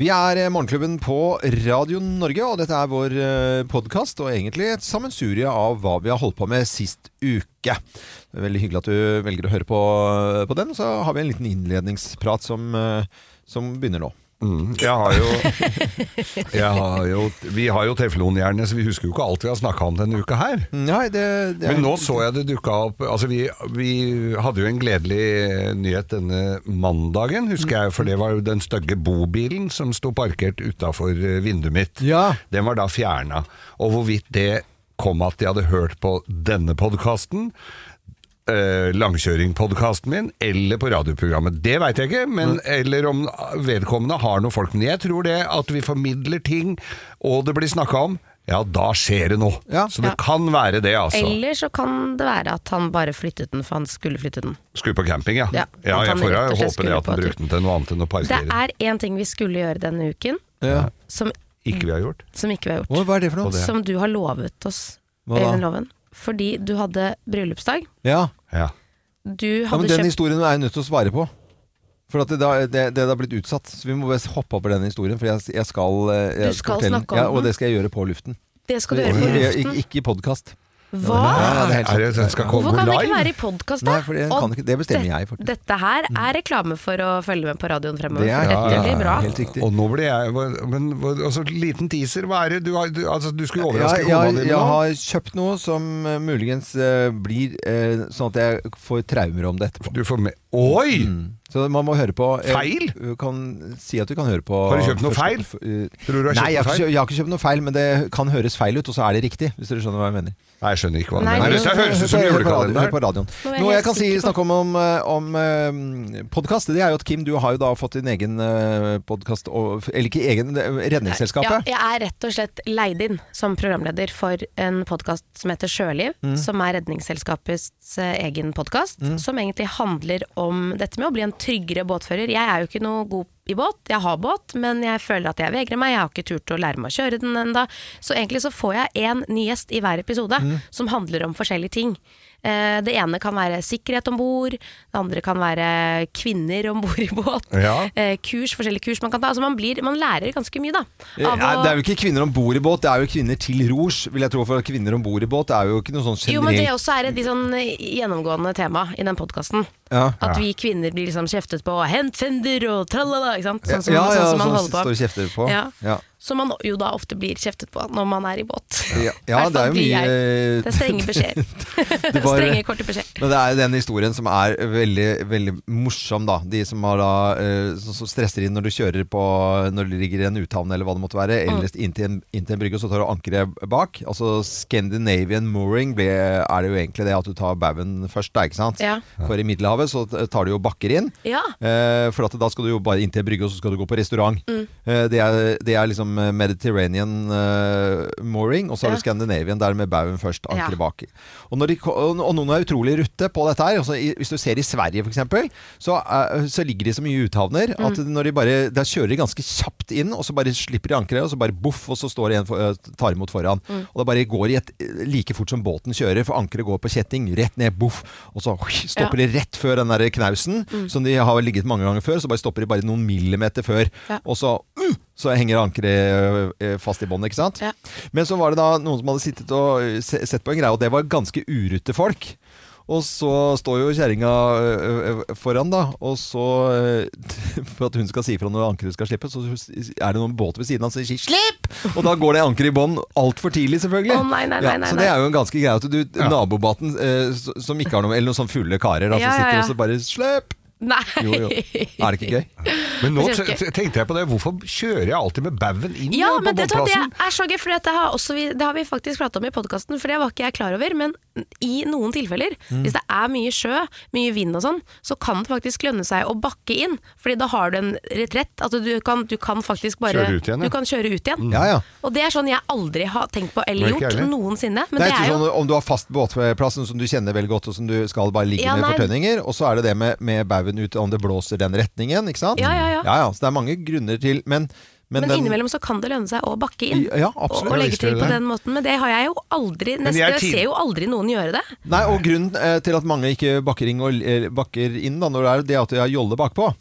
Vi er eh, Morgenklubben på Radio Norge, og dette er vår podkast. Og egentlig et sammensurie av hva vi har holdt på med sist uke. Det er Veldig hyggelig at du velger å høre på, på den. Så har vi en liten innledningsprat som, eh, som begynner nå. Mm, jeg har jo, jeg har jo Vi har jo teflonhjerne, så vi husker jo ikke alt vi har snakka om denne uka her. Mm, Nei, det, det er- Men nå så jeg det dukka opp Altså vi, vi hadde jo en gledelig nyhet denne mandagen, husker jeg. For det var jo den stygge bobilen som sto parkert utafor eh, vinduet mitt. Ja. Den var da fjerna. Og hvorvidt det kom at de hadde hørt på denne podkasten, eh, Langkjøringpodkasten min, eller på radioprogrammet. Det veit jeg ikke, men eller om vedkommende har noen folk. Men jeg tror det at vi formidler ting, og det blir snakka om, ja, da skjer det noe. Ja. Så det kan være det, altså. Eller så kan det være at han bare flyttet den, for han skulle flytte den. Skulle på camping, ja. Ja, Ja, at jeg han får rett jo og håpe slett det skulle at han på brukte den til noe annet enn å Det parkere. er én ting vi skulle gjøre denne uken, ja. som, Ikke vi har gjort. som ikke vi har Å, gjort. Hva er det for Og noe? det- Som du har lovet oss, Hva da? Øyvind Loven. Fordi du hadde bryllupsdag. Ja. Ja. Du ja, men hadde Den kjøpt historien er jeg nødt til å svare på. For at det, da- det, det har blitt utsatt. Så vi må bare hoppe over den historien. For jeg, jeg skal, eh, jeg Du skal fortelle den. snakke om ja, Og den. det skal jeg gjøre på luften. Det skal du gjøre på Jeg- jeg- luften. Ikke i podkast. Hva? Ja, det er helt sant. Er det, den skal Hvorfor komme kan det ikke live? være i podkast, da? Nei, for det, Og kan ikke, det bestemmer det- jeg faktisk. Dette her er reklame for å følge med på radioen fremover. Det er- for dette ja, blir bra. helt riktig. Og nå ble jeg hva- Men hva- altså, liten teaser, hva er det du har du, altså, du skulle Ja, overraske kona jeg, di med jeg noe? har kjøpt noe som eh, muligens eh, blir eh, sånn at jeg får traumer om det etterpå. Du får med Oi! Så man må høre på eh, Feil? Du kan si at du kan høre på Har du kjøpt noe først- feil? f- eh, Tror du Nei, jeg har kjøpt har, noe ikke, feil? kjøpt- jeg har ikke kjøpt noe feil, men det kan høres feil ut, og så er det riktig. Hvis dere skjønner hva jeg mener. Nei, jeg skjønner ikke hva du Nei, mener. men- Det høres ut som Hør på radio- hør julekalender. på radioen. Nå er jeg Noe jeg helt kan si, sikker på- snakke om, om, eh, om eh, podkast, det er jo at Kim, du har jo da fått din egen eh, podkast, og- eller ikke egen, det er Redningsselskapet. Ja, jeg er rett og slett leid inn som programleder for en podkast som heter Sjøliv, som er Redningsselskapets eh, egen podkast, som egentlig handler om dette med å bli en tryggere båtfører. Jeg er jo ikke noe god i båt, jeg har båt, men jeg føler at jeg vegrer meg, jeg har ikke turt å lære meg å kjøre den enda. Så egentlig så får jeg én ny gjest i hver episode, som handler om forskjellige ting. Eh, Det ene kan være sikkerhet om bord, det andre kan være kvinner om bord i båt. Ja. Eh, Kurs, forskjellige kurs man kan ta. Altså man, blir, man lærer ganske mye, da. Ja, Av å, Eh, det er jo ikke kvinner om bord i båt, det er jo kvinner til rouge, vil jeg tro. For kvinner om bord i båt er jo ikke noe sånn jo, men det generelt også er et litt sånn eh, gjennomgående tema i den podkasten. ja. At vi kvinner blir liksom kjeftet på 'hent fender' og tralala, ikke sant. Sånn som, ja, ja, sånn som man sånn holder på. står og kjefter på. Ja. Ja. Som man jo da ofte blir kjeftet på når man er i båt. Ja, ja, Hvertfall det er jo blir mye jeg. Det er strenge beskjeder. Det var- strenge, korte beskjeder. Men det er den historien som er veldig, veldig morsom, da. De som, har da, eh, som som stresser inn når du kjører på Når det ligger i en uthavn eller hva det måtte være, Mm. eller inntil en, inntil en brygge, og så tar du ankeret bak. Altså Scandinavian mooring ble, er det jo egentlig det at du tar baugen først, da, ikke sant? Ja. For i Middelhavet så tar du jo bakker inn. Ja. Eh, for at da skal du jo bare inn til en brygge, og så skal du gå på restaurant. Eh, det, er, det er liksom eh, Mediterranean eh, mooring, og så har Ja. du Scandinavian der med baugen først, ankeret Ja. bak. Og, når de, ko- og og noen er utrolig rutte på dette her. Altså, i- hvis du ser i Sverige f.eks., så, er- så ligger de så mye i uthavner at Mm. når de bare, der kjører de ganske kjapt inn, og så bare slipper de ankeret, og så bare boff, og så står det en for, eh, tar imot foran. Mm. Og det bare går i et, like fort som båten kjører, for ankeret går på kjetting, rett ned, boff, og så stopper de rett før den der knausen, Mm. som de har ligget mange ganger før, så bare stopper de bare noen millimeter før, Ja. og så, mm, så henger ankeret eh, fast i båndet, ikke sant? Ja. Men så var det da noen som hadde sittet og eh, se- sett på en greie, og det var ganske urute folk. Og så står jo kjerringa ø, ø, foran, da. Og så ø, For at hun skal si ifra når ankeret skal slippe, så er det noen båter ved siden av som sier 'slipp!' Og da går det ankeret i bånn altfor tidlig, selvfølgelig. Å, nei, nei, nei, nei, så det nei. er jo en ganske greie at du Ja. Nabobaten ø, s- som ikke har noe Eller noen sånn fulle karer da, som Ja, ja, sitter ja. og så bare 'slipp!' Nei. Jo, jo. Er det ikke gøy? Men nå Jeg skjønner t- ikke. tenkte jeg på det, hvorfor kjører jeg alltid med baugen inn Ja, på men det, tror jeg båtplassen? det er så gøy, for det har, også vi, det har vi faktisk pratet om i podkasten, for det var ikke jeg klar over. Men i noen tilfeller, Mm. hvis det er mye sjø, mye vind og sånn, så kan det faktisk lønne seg å bakke inn. Fordi da har du en retrett. Altså du kan, du kan faktisk bare Kjøre ut igjen, ja. Du kan kjøre ut igjen. Ja, ja. Og det er sånn jeg aldri har tenkt på eller Nei, ikke gjort heller. noensinne. Det Men det er ikke er jo sånn om du har fast båtplass som du kjenner veldig godt, og som du skal bare ligge Ja, med nei. fortønninger, og så er det det med, med baugen ut om det blåser den retningen, ikke sant? Ja, ja, ja. Så det er mange grunner til, men Men den- innimellom så kan det lønne seg å bakke inn. Ja, og, absolutt. og Ja, legge visst til gjør det. på den måten. Men det har jeg jo aldri Men nest, jeg er Jeg tid- ser jo aldri noen gjøre det. Nei, og grunnen eh, til at mange ikke bakker inn, og, eh, bakker inn da, når det er det at de har jolle bakpå.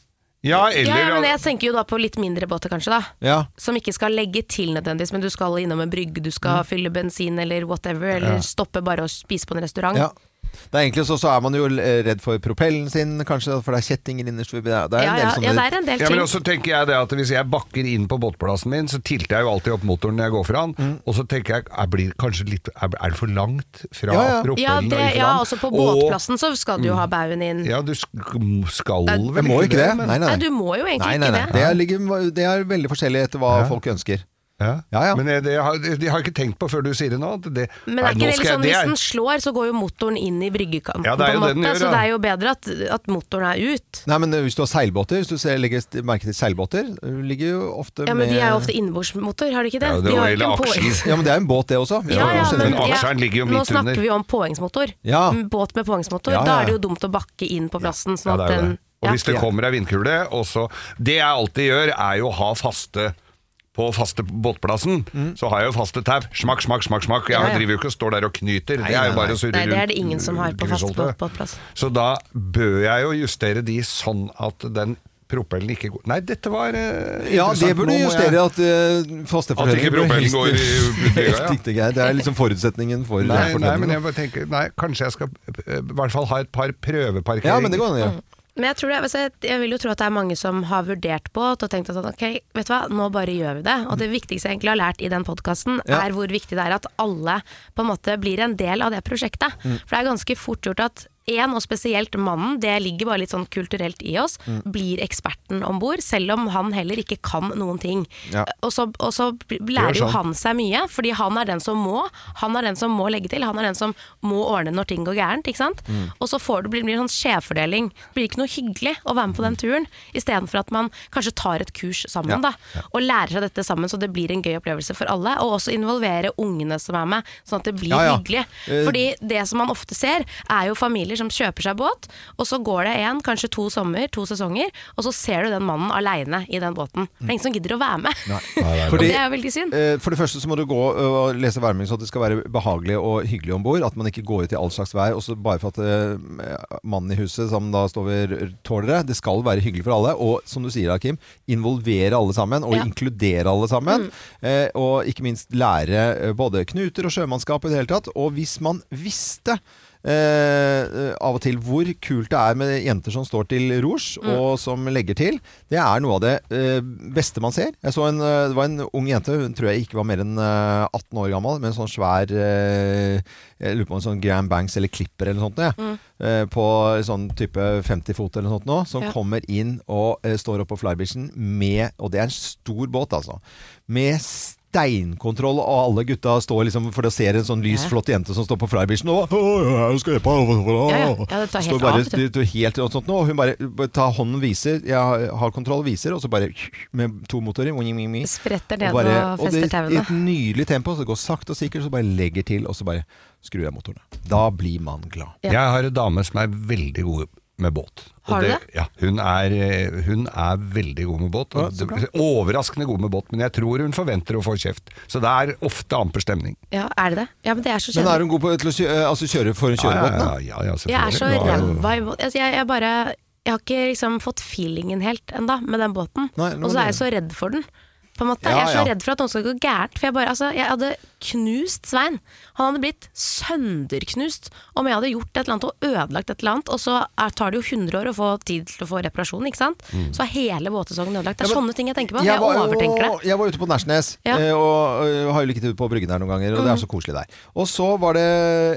Ja, eller Ja, men jeg tenker jo da på litt mindre båter, kanskje, da. Ja. Som ikke skal legge til nødvendigvis, men du skal innom en brygge, du Mm. skal fylle bensin eller whatever, eller stoppe bare og spise på en restaurant. Ja. Det er egentlig så, så er man jo eh, redd for propellen sin, kanskje, for det er kjettinger innerst ved Det er det er en Ja, ja, del ja, det sånne er en del Ja, ting. men også tenker jeg det at Hvis jeg bakker inn på båtplassen min, så tilter jeg jo alltid opp motoren når jeg går foran. Mm. Og så tenker jeg, jeg blir kanskje litt, er er det for langt fra Ja, ja. propellen? ja, og det, ut fra ja, land? også på Og- Mm. båtplassen så skal du jo ha baugen inn. Ja, du sk- skal vel Jeg må ikke det. men- Nei, nei. Nei, du må jo egentlig Nei, nei, nei. ikke Det, det. er, ligger- det er veldig forskjellig etter hva folk ønsker. Ja. Ja, ja. Men det, det har, det har jeg ikke tenkt på før du sier det nå. at Det, Men er nei, nå ikke det skal jeg- litt sånn, det hvis er- den slår, så går jo motoren inn i bryggekanten, Ja, det er på en jo det den måte. gjør, så ja. det er jo bedre at, at motoren er ut. Nei, men eh, hvis du har seilbåter, hvis du ser, legger st- merke til seilbåter, eh, ligger jo ofte Ja, men med de er jo ofte innbordsmotor, har de ikke det? Ja, det de var har hele jo ikke en aksjen. påhengsmotor. Ja, men det er en båt, det også. Ja, ja, men, men aksjeren ligger jo nå midt snakker under. vi jo om påhengsmotor. Ja. En Båt med påhengsmotor. Ja, ja, ja. Da er det jo dumt å bakke inn på plassen. Ja, Sånn det at er jo den, det. Og hvis ja. det kommer ei vindkule og så- Det jeg alltid gjør, er jo å ha faste på faste båtplassen så har jeg jo faste tau. Smakk, smakk, smakk. smakk Jeg Mm. Ja, ja. driver jo ikke og står der og knyter. det er nei, jo bare å surre Nei, rundt. det er det ingen som har på fast grisholte. båtplass. Så da bør jeg jo justere de sånn at den propellen ikke går Nei, dette var eh, Ja, det interessant. burde du Nå må jeg- justere at uh, faste At ikke bør propellen helst- går i brygga, ja. Helt riktig, Geir. Det er liksom forutsetningen for Nei, nei, fortellingen. men jeg bare tenker Nei, kanskje jeg skal eh, i hvert fall ha et par prøveparkeringer. Ja, men det går an å gjøre. Men jeg, tror det, altså, jeg- jeg vil jo tro at det er mange som har vurdert båt og tenkt at sånn, ok, vet du hva, nå bare gjør vi det. Og det viktigste jeg egentlig har lært i den podkasten, Ja. er hvor viktig det er at alle på en måte blir en del av det prosjektet. Mm. For det er ganske fort gjort at én, og spesielt mannen, det ligger bare litt sånn kulturelt i oss, Mm. blir eksperten om bord, selv om han heller ikke kan noen ting. Ja. Og, så, og så lærer jo sånn. sant. han seg mye, fordi han er den som må. Han er den som må legge til, han er den som må ordne når ting går gærent. ikke sant? Mm. Og så får det, blir det en sånn skjevfordeling. Det blir ikke noe hyggelig å være med på den turen, istedenfor at man kanskje tar et kurs sammen Ja. da, og lærer seg dette sammen, så det blir en gøy opplevelse for alle. Og også involvere ungene som er med, sånn at det blir Ja, ja. hyggelig. Eh, Fordi det som man ofte ser, er jo familier som kjøper seg båt, og så går det en, kanskje to sommer, to sesonger, og så ser du den mannen aleine i den båten. Det er ingen som gidder å være med. Fordi- og det er veldig synd. Eh, For det første så må du gå ø, og lese værmelding så det skal være behagelig og hyggelig om bord. At man ikke går ut i all slags vær. Og så bare for at eh, mannen i huset som da står ved r- tålere, det skal være hyggelig for alle. Og som du sier da, Kim, involvere alle sammen. Og Ja. inkludere alle sammen. Eh, og ikke minst lære eh, både knuter og sjømannskap i det hele tatt. Og hvis man visste eh, av og til hvor kult det er med jenter som står til rors og som legger til. Det er noe av det eh, beste man ser. Jeg så en, eh, det var en ung jente, hun tror jeg ikke var mer enn eh, 18 år gammel, med en sånn svær eh, Jeg lurer på om en sånn Grand Banks eller Clipper eller noe sånt. Ja. Mm. Eh, på sånn type 50 fot eller noe sånt nå, som Ja. kommer inn og eh, står oppe på flybeachen med Og det er en stor båt, altså. Med steinkontroll, og alle gutta står liksom for å se en sånn lys, Ja. flott jente som står på flybeachen og «Å, jeg skal hjelpe deg, å, å, å». Ja, ja. Ja, det tar helt Står bare, av, vet du. det- det er helt og sånt nå, og hun bare, bare tar hånden viser, jeg har- har kontroll viser, og så bare med to motorer, wing, wing, wing, Spretter ned og, bare, og og det fester i et tauene. nydelig tempo, så det går sakte og sikkert, så bare legger til, og så bare skrur jeg motorene. Da blir man glad. Ja. Jeg har en dame som er veldig god med båt. Og Har du det? Ja, hun er, eh, hun er veldig god med båt. og det- Overraskende god med båt, men jeg tror hun forventer å få kjeft. Så det er ofte amper stemning. Ja, er det det? Ja, men det er så Men kjedelig. er hun god på, til å kjø, eh, altså, kjøre for en kjørebåt? da? Ja, ja, ja, selvfølgelig. Jeg er så Hun har jo- ræva i båt. Altså, jeg, jeg bare Jeg har ikke liksom fått feelingen helt ennå med den båten. Nei, nå Og så må er jeg du- så redd for den. På en måte. Ja, jeg er så ja. redd for at noe skal gå gærent. For jeg bare Altså, jeg hadde knust Svein. Han hadde blitt sønderknust om jeg hadde gjort et eller annet og ødelagt et eller annet. Og så er, tar det jo 100 år å få tid til å få reparasjon, ikke sant. Så er hele båtsesongen ødelagt. Det er Mm. Ja, men- sånne ting jeg tenker på. Jeg, var jo- overtenker det. Jeg var ute på Nærsnes Ja. Mm. eh, og eh, har jo ligget ute på bryggen her noen ganger, og det er så koselig der. Og så var det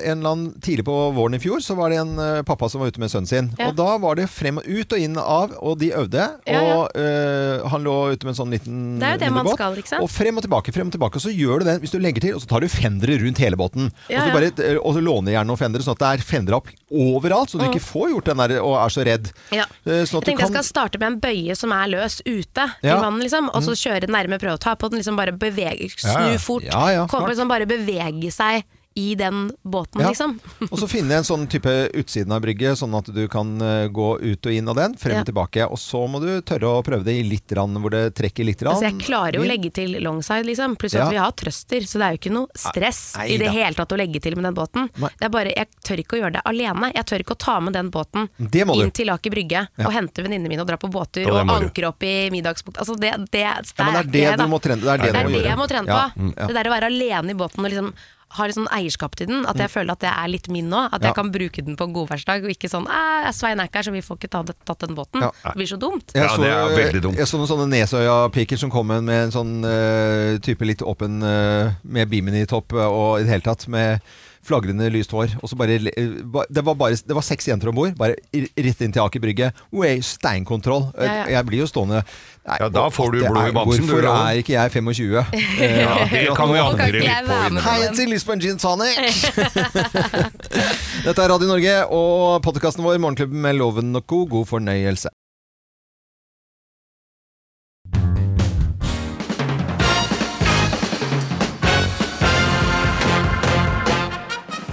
en eller annen tidlig på våren i fjor, så var det en eh, pappa som var ute med sønnen sin. Ja. Og da var det frem og ut og inn av, og de øvde. Ja, ja. Og eh, han lå ute med en sånn liten Det er jo det mindre man båt. skal, ikke sant? Og frem og tilbake, frem og tilbake. Og så gjør du den, hvis du legger til, og så tar du fendere rundt hele båten. Ja, og, så ja. bare, eh, og så låner jeg gjerne noen fendere, sånn at det er fendere opp overalt, så du ikke får gjort den der og er så redd. Mm. Ja. Eh, Sånn Jeg at du tenkte jeg kan skal starte med en bøye som er løs ute i Ja. Mm. vannet, liksom, og så kjøre nærme, prøve å ta på den, liksom bare bevege, Ja, ja. snu fort. Ja, ja, komme, klart. liksom bare bevege seg i den båten, Ja. liksom. Og så finne en sånn type utsiden av brygge, sånn at du kan eh, gå ut og inn av den, frem Ja. og tilbake. Og så må du tørre å prøve det i litt rann, hvor det trekker litt rann. Altså jeg klarer jo å Vin. legge til longside, liksom. Pluss Ja. at vi har trøster, så det er jo ikke noe stress Nei, i det da. hele tatt å legge til med den båten. Nei. Det er bare, Jeg tør ikke å gjøre det alene. Jeg tør ikke å ta med den båten Det må du. inn til Aker Brygge og hente venninnene mine og dra på båter Og og, det må du. ankre opp i middagsbukt. Altså det, det, Ja, men det er det jeg, da. du må trene- det er det det, du må gjøre. jeg må trene på. Ja, mm, ja. Det der å være alene i båten og liksom ha litt sånn eierskap til den. At jeg føler at det er litt min nå. At Mm. Ja. jeg kan bruke den på en godværsdag, og ikke sånn «Æ, Svein er ikke her, så vi får ikke ta det, tatt den båten. Ja. Det blir så dumt. Jeg Ja, så, eh, det er veldig dumt. Jeg så noen sånne Nesøya-piker som kom med en sånn eh, type litt åpen eh, med bimini-topp og i det hele tatt med flagrende lyst hår. Og så bare, le- eh, ba- det, var bare det var seks jenter om bord, bare i- rett inn til Aker Brygge. Oi, steinkontroll. Eh, Ja, ja. Jeg blir jo stående Nei, Ja, da får du det blod i er- bamsen, du, Hvorfor Loven. er ikke jeg 25? Eh, Ja, det kan vi Nå kan andre ikke jeg litt på. være innimellom. med på Hei den. til Lisbon Gin Tonic! Dette er Radio Norge og podkasten vår Morgenklubben med Loven og co. God fornøyelse.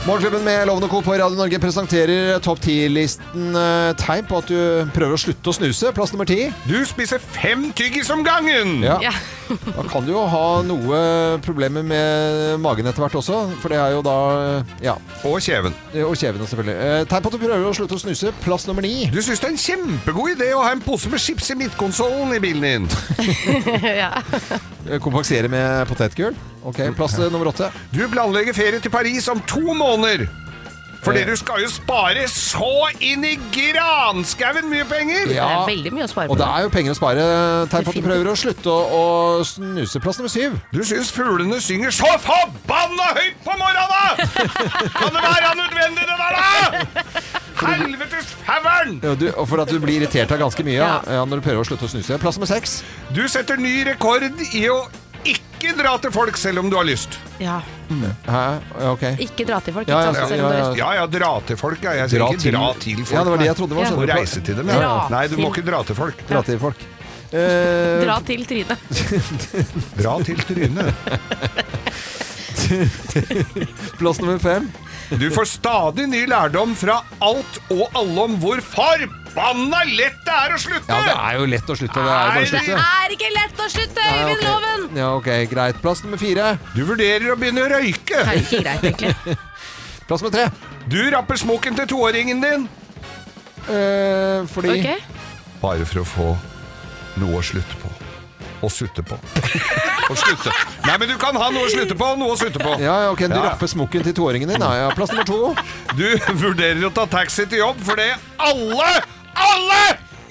Morgenklubben med Loven og Co. på Radio Norge presenterer topp 10-listen eh, tegn på at du prøver å slutte å snuse. Plass nummer ti. Du spiser fem tyggis om gangen! Ja. Ja. Da kan du jo ha noe problemer med magen etter hvert også, for det er jo da Ja. Og kjeven. Og kjevene, selvfølgelig. Eh, tegn på at du prøver å slutte å snuse. Plass nummer ni. Du syns det er en kjempegod idé å ha en pose med chips i midtkonsollen i bilen din. ja. Eh, Kompensere med potetgull. Ok, Plass eh, nummer åtte. Du planlegger ferie til Paris om to måneder. Fordi Eh. du skal jo spare så inn i granskauen mye penger! Det Ja. er veldig mye å spare Og på. det er jo penger å spare. Tegn på at du Definitivt. prøver å slutte å, å snuse. Plass nummer syv. Du syns fuglene synger så forbanna høyt på morgenen! Kan det være nødvendig, det der, da?! Helvetes fauen! Ja, du, og for at du blir irritert av ganske mye ja. Ja. når du prøver å slutte å snuse. Plass nummer seks. Du setter ny rekord i å ikke dra til folk selv om du har lyst. Ja. Hæ? Ja, Ok. Ikke dra til folk, Ja, ikke sant? ja, selv om du ja, har ja. lyst. Ja ja, dra til folk, ja. Jeg sier Dra ikke til- dra til folk. Ja, det var det jeg nei. trodde det var. Ja. Må skjønner du. reise til dem, Dra ja. Nei, du må til- ikke dra til folk. Dra til folk. Eh, Dra til Trine. Dra til trynet. plass nummer fem. Du får stadig ny lærdom fra alt og alle om hvor forbanna lett det er å slutte! Ja, det er jo lett å slutte. Det er jo bare å Nei, slutte. er ikke lett å slutte, Nei, ok. Ja, ok, greit. Plass nummer fire. Du vurderer å begynne å røyke. Det er ikke greit, egentlig. Plass nummer tre. Du rapper smokken til toåringen din. Eh, fordi Ok? Bare for å få noe å slutte på. Å sutte på. Å slutte. Nei, men du kan ha noe å slutte på og noe å sutte på. Ja, ja, ok, Du Ja. rapper smokken til toåringen din. Ja, ja. Plass nummer to. Du vurderer å ta taxi til jobb fordi alle, alle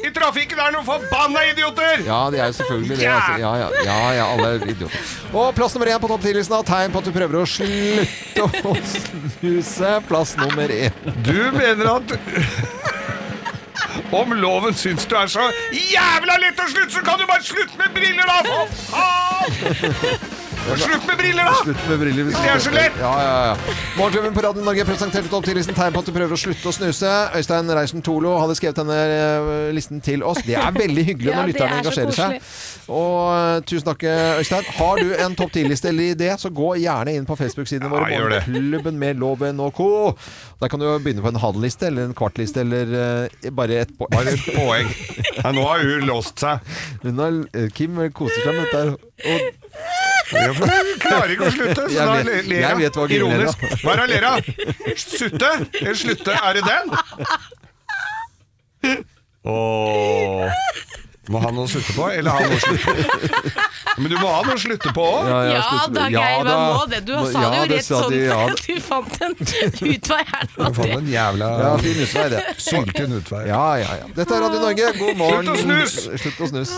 i trafikken er noen forbanna idioter! Ja, det er jo selvfølgelig det. Altså. Ja, ja, ja, ja, alle er idioter. Og plass nummer én på topp 10-listen av tegn på at du prøver å slutte å snuse. Plass nummer én. Du mener at om loven syns du er så jævla lett å slutte, så kan du bare slutte med briller, da! For faen! Slutt med briller, da! Slutt med briller. hvis du- Det er så lett! Ja, ja, ja. Morgenklubben på Radio Norge presenterte topp 10-listen tegn på at du prøver å slutte å snuse. Øystein Reisen Tolo hadde skrevet denne eh, listen til oss. Det er veldig hyggelig Ja, når det lytterne er så engasjerer seg. Og eh, tusen takk, eh, Øystein. Har du en topp 10-liste eller idé, så gå gjerne inn på Facebook-sidene våre. Ja, gjør det. Morgenklubben med loven og co. Der kan du jo begynne på en halvliste eller en kvartliste eller eh, bare et poeng. Bare et poeng. Ja, nå har hun låst seg. Hun har- eh, Kim koser seg med dette. her. Og Ja, for Hun klarer ikke å slutte, så Jeg da vet- le- ler jeg hun. vet hva Guri ler Ironisk. Hva er det hun ler av? Sutte? Eller slutte? Er det den? Åh. Må ha noe å sutte på, eller ha noe å slutte på? Men du må ha noe å slutte på òg. Ja, ja, Ja slutt- da, ja, Geir, hva da. må det? Du sa Ja, det jo det rett sa sånn de, ja. at du fant en utvei her nå. Det- en jævla ja, fin utvei, det. syltynn utvei. Ja, ja, ja. Dette er Radio Norge. God morgen. Slutt å snus! Slutt å snus.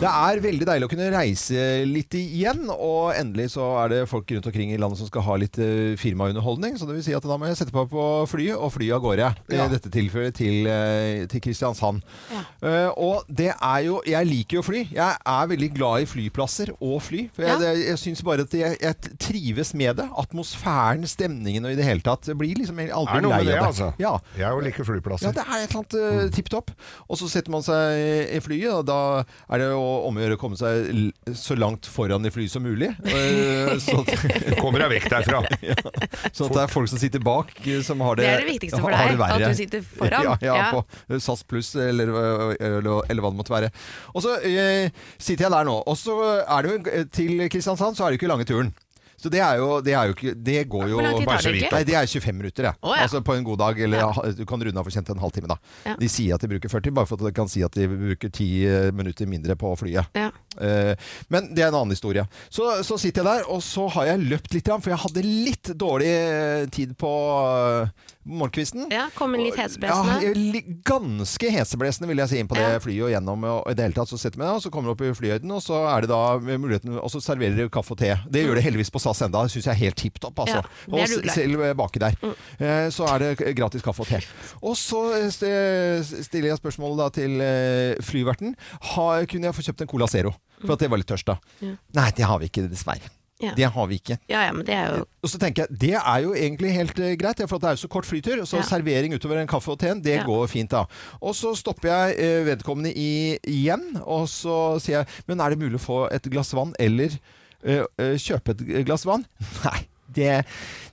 Det er veldig deilig å kunne reise litt igjen, og endelig så er det folk rundt omkring i landet som skal ha litt eh, firmaunderholdning. Så det vil si at da må jeg sette meg på flyet, og fly av gårde. eh, I Ja. dette tilfellet til, eh, til Kristiansand. Eh, og det er jo Jeg liker jo å fly. Jeg er veldig glad i flyplasser og fly. For jeg, Ja. det, jeg syns bare at jeg, jeg trives med det. Atmosfæren, stemningen og i det hele tatt. Jeg blir liksom Det aldri er noe lei med av det, det. altså. Ja. Jeg er jo like eh, flyplasser. Mm. Ja, det er et eller annet uh, tipp topp. Og så setter man seg i- i flyet, og da er det jo og om å gjøre å komme seg l- så langt foran i flyet som mulig. Eh, Sånn at, Kommer deg vekk derfra. sånn at det er folk som sitter bak, eh, som har det, Det er det viktigste for har deg, det verre. at du sitter foran. Ja, ja, Ja. på eh, SAS pluss, eller, eh, eller, eller hva det måtte være. Og så eh, sitter jeg der nå. Og så er det jo eh, til Kristiansand, så er det jo ikke lange turen. Så det er jo, det er jo ikke Det går jo Hvor lang tid bare tar så det vidt, ikke? Nei, det er 25 minutter, ja. Å, ja. Altså på en god dag, eller Ja. ha- du kan runde av for kjent en halvtime, da. Ja. De sier at de bruker 40, bare for at de kan si at de bruker 10 minutter mindre på flyet. Ja. Eh, Men det er en annen historie. Så, så sitter jeg der, og så har jeg løpt litt, grann, for jeg hadde litt dårlig eh, tid på eh, morgenkvisten. Ja, kom inn litt Ja, heseblesende. jeg er li- ganske heseblesende, vil jeg si, inn på det Ja. flyet og gjennom. Og i det hele tatt så setter jeg meg ned, og så kommer du opp i flyhøyden, og så er det da muligheten Og så serverer de kaffe og te. Det gjør det heldigvis på SAS enda, det syns jeg er helt tipp topp, altså. Mm. Ja, det er Mm. og du glad i. s- selv eh, baki der. Eh, Så er det k- gratis kaffe og te. Og så eh, st- eh, stiller jeg spørsmålet da til eh, flyverten. Har- Kunne jeg få kjøpt en Cola Zero? For at det var litt tørst, da. Nei, det har vi ikke, dessverre. Mm. Ja. Det har vi ikke. Ja, ja, men det er jo Og så tenker jeg, Det er jo egentlig helt eh, greit, ja, for at det er jo så kort flytur. Så Ja. servering utover en kaffe og teen, det Ja. går fint, da. Og så stopper jeg eh, vedkommende i, igjen, og så sier jeg Men er det mulig å få et glass vann, eller eh, eh, kjøpe et glass vann? Nei, det,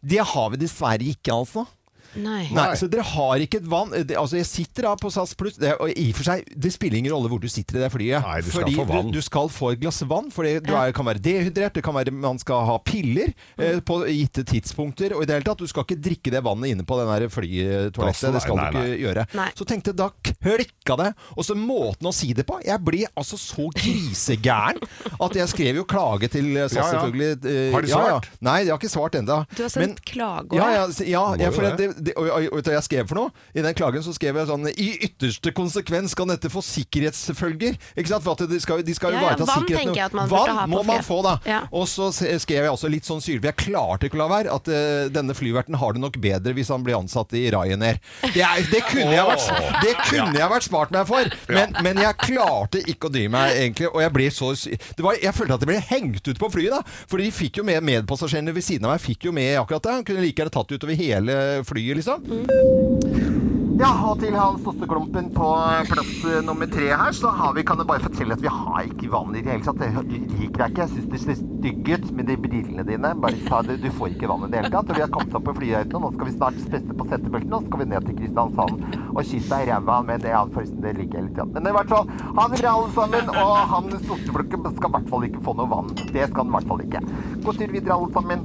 det har vi dessverre ikke, altså. Nei. Nei, så dere har ikke et vann det, Altså jeg sitter da på SAS Pluss det, Og i og for seg, det spiller ingen rolle hvor du sitter i det flyet Nei, du skal Fordi få vann. Du, du skal få et glass vann For det- du er, kan være dehydrert Det kan være man skal ha piller Mm. eh, På gitte tidspunkter Og i det hele tatt, du skal ikke drikke det vannet inne på den der Plassen, flytoalettet Det skal du nei, nei, ikke gjøre Nei. Så tenkte jeg, da klikket det Og så måten å si det på Jeg ble altså så grisegæren At jeg skrev jo klage til eh, SAS Ja, ja. selvfølgelig eh, Har de ja, ja. svart? Nei, de har ikke svart enda Du har Men- sendt klage ja, over ja, s- ja Må jeg, jo for det. det, det, og, og, og, jeg skrev for noe. I den klagen så skrev jeg sånn I ytterste konsekvens kan dette få sikkerhetsfølger. Ikke sant? For at de skal, jo- de skal jo Ja, ja, ivareta vann sikkerheten. tenker jeg at man burde ha Vann på må man flyet. få, da. Ja. Og så s- skrev jeg også litt sånn sylv. Jeg klarte ikke å la være at eh, denne flyverten har det nok bedre hvis han blir ansatt i Ryanair. Det, er, det, kunne, jeg vært, Åh. det kunne jeg vært smart meg for, men, men jeg klarte ikke å dy meg, egentlig. Og jeg ble så sy- det var, Jeg følte at jeg ble hengt ut på flyet, da. For de fikk jo med medpassasjerene ved siden av meg. fikk jo med akkurat det. Han kunne like gjerne tatt det utover hele flyet, liksom. Ja, og til han fosterklumpen på plass eh, nummer tre her, så har vi, kan jeg bare fortelle at vi har ikke vann i det hele tatt. Det- Du liker deg ikke. Jeg syns det ser stygg ut med de brillene dine. Bare ta det, du får ikke vann i det hele tatt. Og vi har kommet opp på flyhøyden, og nå skal vi snart feste på settebeltene, og så skal vi ned til Kristiansand og kysse deg i ræva med det. Ja, forresten, det liker jeg litt. grann. Men i hvert fall, ha det bra, alle sammen. Og han sorteblukken skal i hvert fall ikke få noe vann. Det skal han i hvert fall ikke. God tur videre, alle sammen.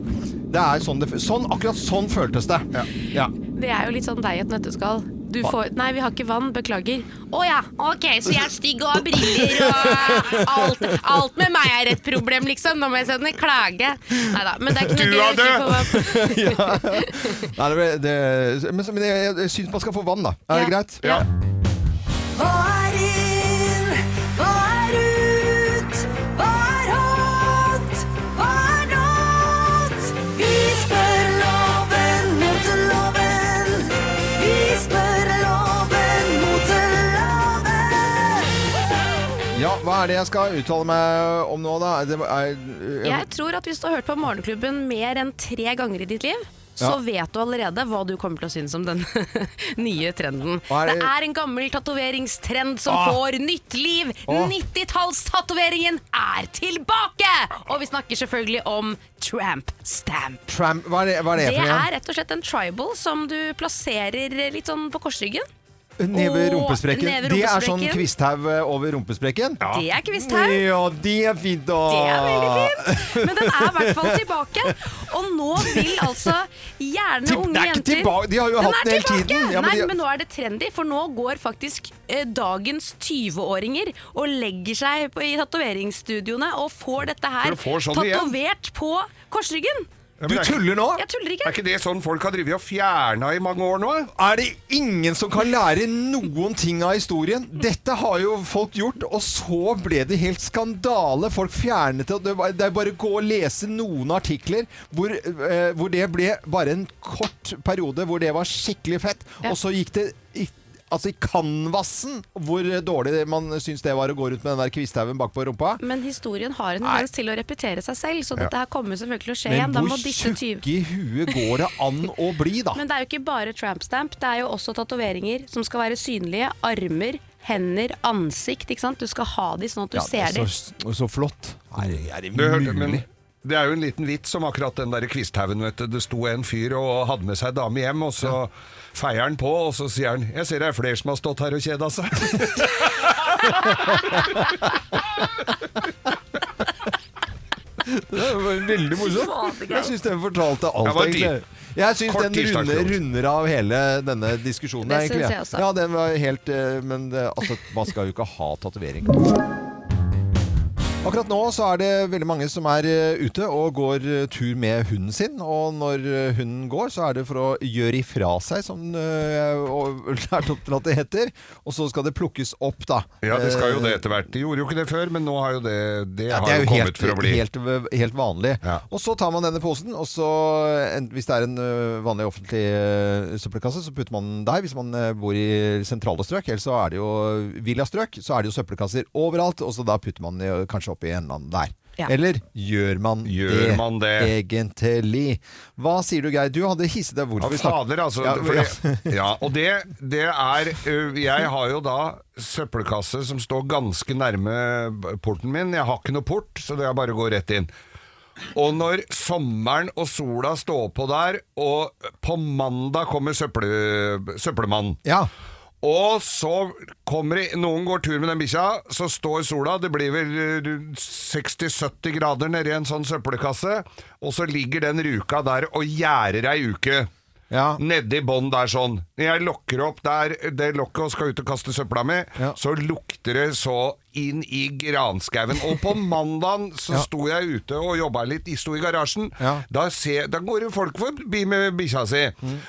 Det er sånn det Akkurat sånn føltes det. ja. Det er jo litt sånn deg i et nøtteskall. Du får Nei, vi har ikke vann, beklager. Å ja, ok, så jeg er stygg og har briller og alt, alt med meg er et problem, liksom. Nå må jeg sende klage. Nei da, men det er ikke Du noe er å ikke få vann. Nei, det, ble- det, men så- men jeg, jeg syns man skal få vann, da. Er det Ja. greit? Ja. Hva er inn? Hva er ut? Hva er hot? Hva er not? Vi spør loven, moteloven. Vi spør loven, moteloven. Ja, Hva er det jeg skal uttale meg om nå, da? Det er, Jeg tror at hvis du har hørt på Morgenklubben mer enn tre ganger i ditt liv, så Ja. vet du allerede hva du kommer til å synes om den nye trenden. Hva er det? det- er en gammel tatoveringstrend som Ah. får nytt liv! Ah. 90-tallstatoveringen er tilbake! Og vi snakker selvfølgelig om tramp stamp. tram, hva er det, hva er det, Det for noe? er rett og slett en tribal som du plasserer litt sånn på korsryggen. Nede ved Åh, rumpesprekken. nede ved Det er sånn rumpesprekken. kvisthaug eh, over rumpesprekken? Ja. Det er kvisthaug. det er fint, da! Det er veldig fint! Men den er i hvert fall tilbake. Og nå vil altså gjerne Til- unge det er ikke jenter tilbake- de har jo hatt er den hele tilbake! tiden. Ja, men Nei, de- men nå er det trendy, for nå går faktisk eh, dagens 20-åringer og legger seg på, i tatoveringsstudioene og får dette her For å få sånn igjen. tatovert på korsryggen. Ja, Du men er ikke- tuller nå? Jeg tuller Er ikke. ikke det sånn folk har drevet og fjerna i mange år nå? Er det ingen som kan lære noen ting av historien? Dette har jo folk gjort, og så ble det helt skandale. Folk fjernet det. og Det var- det er bare å gå og lese noen artikler hvor, eh, hvor det ble bare en kort periode hvor det var skikkelig fett, Ja. og så gikk det i Altså i kanvassen, hvor dårlig man syns det var å gå rundt med den der kvisthaugen bak på rumpa. Men historien har en tendens til å repetere seg selv, så dette her kommer selvfølgelig til å skje Men igjen. Da hvor må disse 20 tjukk i huet går det an å bli, da? Men det er jo ikke bare tramp stamp, det er jo også tatoveringer som skal være synlige. Armer, hender, ansikt. Ikke sant? Du skal ha de sånn at du ser de. Så, så flott. Er, er det Du hørte, mulig? men det er jo en liten vits om akkurat den der kvisthaugen, vet du. Det sto en fyr og hadde med seg dame hjem, og så feier han på, og så sier han 'Jeg ser det er flere som har stått her og kjeda seg'. Det var veldig morsomt. Jeg syns den fortalte Det alt, var tid. egentlig. Jeg syns Kort den runder, tirsdagsfrokost. runder av hele denne diskusjonen. Det syns egentlig. jeg også. Ja, den var helt eh, Men eh, altså, man skal jo ikke ha tatovering. Akkurat nå så er det veldig mange som er eh, ute og går eh, tur med hunden sin. Og når eh, hunden går, så er det for å gjøre ifra seg, som eh, jeg har lært opp til at det heter. Og så skal det plukkes opp, da. Ja, det skal jo Eh, det etter hvert. De gjorde jo ikke det før, men nå har jo det Det ja, har det er jo jo kommet helt, for å bli. helt, helt vanlig. Ja. Og så tar man denne posen, og så, en- hvis det er en ø, vanlig offentlig ø, søppelkasse, så putter man den der. Hvis man ø, bor i sentrale strøk, eller så er det jo villastrøk, så er det jo søppelkasser overalt, og så da putter man det jo kanskje oppi en eller annen der. Ja. Eller gjør man, Gjør det, man det? egentlig? Hva sier du, Geir? Du hadde hisset deg bort. Ja, for vi snakker- fader, altså. Ja, for- ja. ja, og det, det er øh, Jeg har jo da søppelkasse som står ganske nærme porten min. Jeg har ikke noe port, så det er bare å gå rett inn. Og når sommeren og sola står på der, og på mandag kommer søppel, søppelmannen Ja. Og så kommer det Noen går tur med den bikkja, så står sola, det blir vel eh, 60-70 grader nedi en sånn søppelkasse, og så ligger den ruka der og gjerder ei uke. Ja. Nedi bånn der sånn. Når jeg lokker opp der det lokket og skal ut og kaste søpla mi, Ja. så lukter det så inn i granskauen. Og på mandagen så Ja. sto jeg ute og jobba litt, de sto i garasjen. Ja. Mm. Da, ser- da går det folk forbi med bikkja si.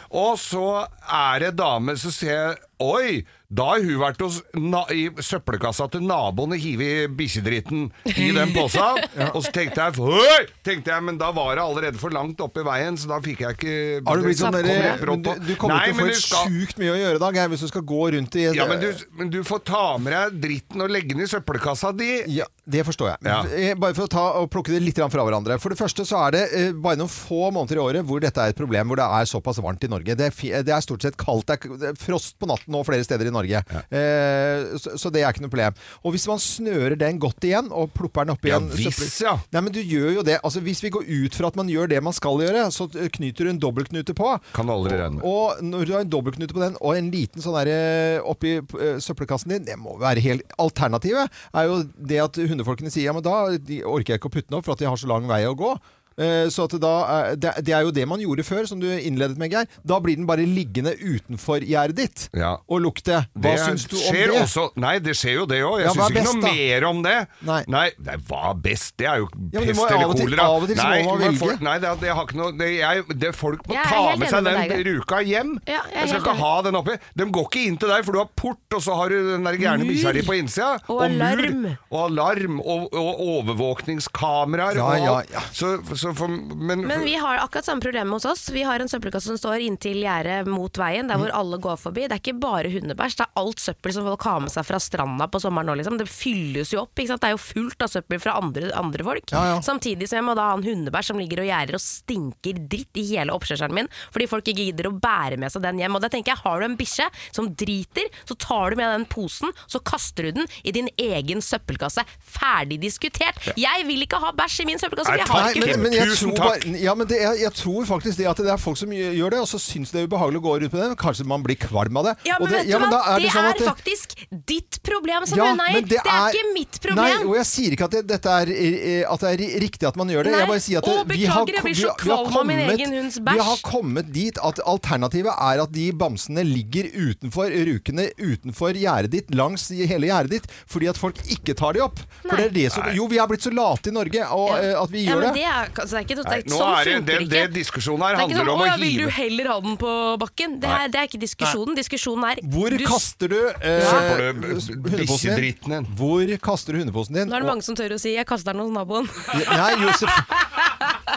Og så er det dame, så ser jeg Oi! Da har hun vært hos na i søppelkassa til naboen og hivet bikkjedritten i den posa. Og så tenkte jeg Oi! tenkte jeg, Men da var det allerede for langt opp i veien, så da fikk jeg ikke Har du blitt sånn Kommer der, helt men brått du, på. du kommer Nei, til å men få du helt skal- sjukt mye å gjøre da, Geir, hvis du skal gå rundt i Ja, men du, men du får ta med deg dritten og legge den i søppelkassa di. Ja, Det forstår jeg. Ja. Eh, Bare for å ta og plukke det litt grann fra hverandre. For det første så er det eh, bare noen få måneder i året hvor dette er et problem, hvor det er såpass varmt i Norge. Det er, fi- det er stort sett kaldt. Det er k- det er frost på natten nå flere steder i Norge. Eh, så, så det er ikke noe problem. Og hvis man snører den godt igjen og plopper den opp i Ja, en hvis, søppel- ja. Nei, men du gjør jo det. Altså, hvis vi går ut fra at man gjør det man skal gjøre, så eh, knyter du en dobbeltknute på. Kan du aldri regne med. Og når du har en dobbeltknute på den, og en liten sånn der eh, oppi eh, søppelkassen din, det må være helt Alternativet er jo det at hundefolkene sier ja, men da de orker jeg ikke å putte den opp for at de har så lang vei å gå. Eh, Så at det, da, er- det, det er jo det man gjorde før, som du innledet med, Geir. Da blir den bare liggende utenfor gjerdet ditt Ja. og lukte. Hva Det syns du om skjer det? Også, nei, det skjer jo det òg. Jeg Ja, hva er syns ikke best, noe da? mer om det. Nei. nei, nei, hva er best? Det er jo Ja, men du pest må av eller og til- kolera. av og til så må nei, man men velge. folk- Nei, det, det har ikke noe det, jeg, det, Folk må Jeg er ta helt med enig seg med den deg, Geir. ruka hjem. Ja, jeg er jeg skal helt ikke enig. ha den oppi. De går ikke inn til deg, for du har port, og så har du den der gærne bikkja di på innsida. Og alarm. Og alarm. Og, og overvåkningskameraer. Ja, og ja, alt. ja. Så, så for, men, Mm. Men vi har akkurat samme problem hos oss. Vi har en søppelkasse som står inntil gjerdet mot veien, Mm. der hvor alle går forbi. Det er ikke bare hundebæsj, det er alt søppel som folk har med seg fra stranda på sommeren nå, liksom. Det fylles jo opp, ikke sant. Det er jo fullt av søppel fra andre, andre folk. Ja, ja. Samtidig som jeg må da ha en hundebæsj som ligger og gjerder og stinker dritt i hele oppkjørselen min, fordi folk ikke gidder å bære med seg den hjem. Og da tenker jeg, har du en bikkje som driter, så tar du med den posen, så kaster du den i din egen søppelkasse. Ferdig diskutert. Jeg vil ikke ha bæsj i min søppelkasse, Nei, for jeg har takk, ikke men- hund. men- Tusen tror bare- takk. ja, men det, jeg, jeg tror faktisk det at det er folk som gjør gjør det, og så syns det er ubehagelig å gå rundt med den. Kanskje man blir kvalm av det. Ja, Og men det, vet du ja, men hva? da det, sånn at er faktisk ditt problem som Ja, hundeeier. men Det, det er ikke mitt Nei, problem. og jeg sier ikke at det, dette er, eh, at det er ri- riktig at man gjør det. Nei. Jeg bare sier at det, Å, beklager, jeg blir vi så vi har kvalm av min kommet- egen hunds bæsj. Vi har kommet dit at alternativet er at de bamsene ligger utenfor eh, rukene, utenfor gjerdet ditt, langs i hele gjerdet ditt, fordi at folk ikke tar de opp. For det Nei. er det som, jo, vi har blitt så late i Norge og, eh, at vi ja, gjør men det. det. Er, altså, det er ikke, det er, Nei, nå sånn er det, funker det, ikke. det diskusjonen her det er ikke handler sånn, om å ja, Vil hive du heller ha den på bakken? Det Nei. er, det er ikke diskusjonen. Diskusjonen er Hvor du, kaster du eh, Søppel- hundeposen bikkjedritten din? din. Hvor kaster du hundeposen din? Nå er det Og- mange som tør å si 'jeg kaster den hos naboen'. Nei, Josef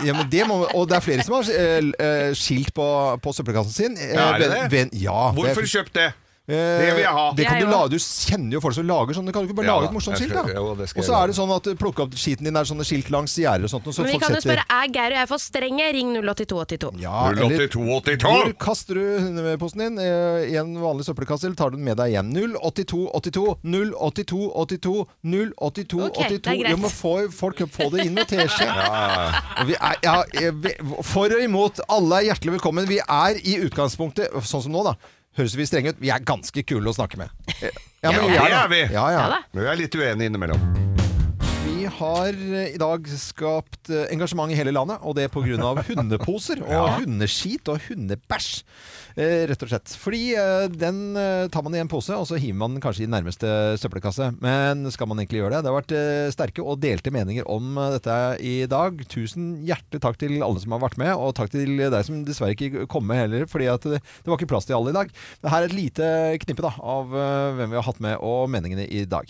ja, men det må, Og det er flere som har eh, eh, skilt på, på søppelkassen sin. Eh, Ja, er det venn- det? venn- ja, Hvorfor det, kjøpt det? Det vil jeg ha. Det kan du, Jeg òg. la, du kjenner jo folk som lager sånn. Kan du ikke bare Ja, lage et morsomt jeg skilt, skal- da? jo, det skal Og så jeg er det sånn at plukke opp skiten din, det er sånne skilt langs gjerder og sånt. Og så Men vi folk kan jo setter spørre er Geir og jeg for strenge. Ring 08282. ja, eller 08282! hvor kaster du hundeposten din? Eh, I en vanlig søppelkasse, eller tar du den med deg hjem? 08282 08282 08282 Ok, det er greit. Du må få folk få det inn med teskje. Og vi er- ja, eh, vi- For og imot. Alle er hjertelig velkommen. Vi er i utgangspunktet, sånn som nå, da. Høres vi strenge ut? Vi er ganske kule å snakke med. Eh, Ja, men det er det. vi. Ja, Ja ja. da. Men vi er litt uenige innimellom. Vi har eh, i dag skapt eh, engasjement i hele landet, og det pga. hundeposer og hundeskit og hundebæsj. Eh, Rett og slett. Fordi eh, den eh, tar man i en pose, og så hiver man den kanskje i nærmeste søppelkasse. Men skal man egentlig gjøre det? Det har vært eh, sterke og delte meninger om eh, dette i dag. Tusen hjertelig takk til alle som har vært med, og takk til deg som dessverre ikke kom med heller, fordi at det, det var ikke plass til alle i dag. Det her er et lite knippe da, av eh, hvem vi har hatt med, og meningene i dag.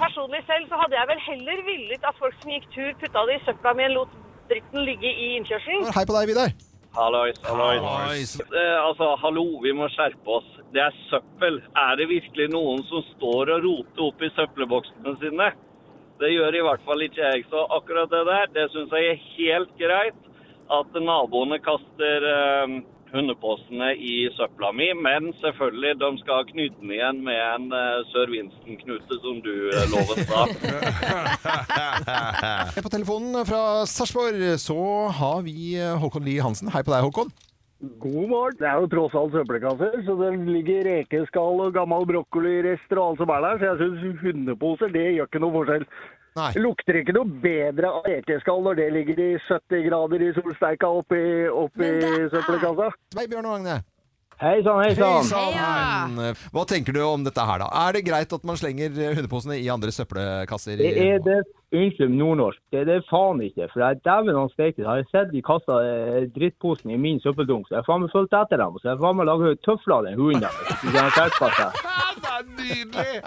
Personlig selv så hadde jeg vel heller villet at folk som gikk tur, putta det i søpla mi og lot dritten ligge i innkjørselen. Hei på deg, Vidar. Hallois, hallois. Eh, altså, hallo, vi må skjerpe oss. Det er søppel. Er det virkelig noen som står og roter opp i søppelboksene sine? Det gjør i hvert fall ikke jeg. Så akkurat det der, det syns jeg er helt greit. At naboene kaster eh, hundeposene i søpla mi. Men selvfølgelig, de skal knyte den igjen med en eh, Sør Winston-knute, som du eh, lovet da. På telefonen fra Sarpsborg så har vi eh, Håkon Lie Hansen. Hei på deg, Håkon. God morgen. Det er jo tross alt søppelkasser, så det ligger rekeskall og gammel brokkolirester og alt som er der, så jeg syns hundeposer, det gjør ikke noe forskjell. Nei. Det lukter ikke noe bedre av rekeskall når det ligger i 70 grader i solsteika oppi, oppi Men det er- søppelkassa. Hei, Bjørn og Agne. Hei sann, hei sann. Hei, sann. Hva tenker du om dette her, da? Er det greit at man slenger eh, hundeposene i andre søppelkasser? Det er det Inklum nordnorsk. Det er det faen ikke. For jeg dæven han steike. Har jeg sett de kasta eh, drittposen i min søppeldunk, så jeg har faen meg fulgt etter dem. Så jeg har faen meg laga tøfler av den hunden deres. hvis de har skjerpet seg. Det er nydelig!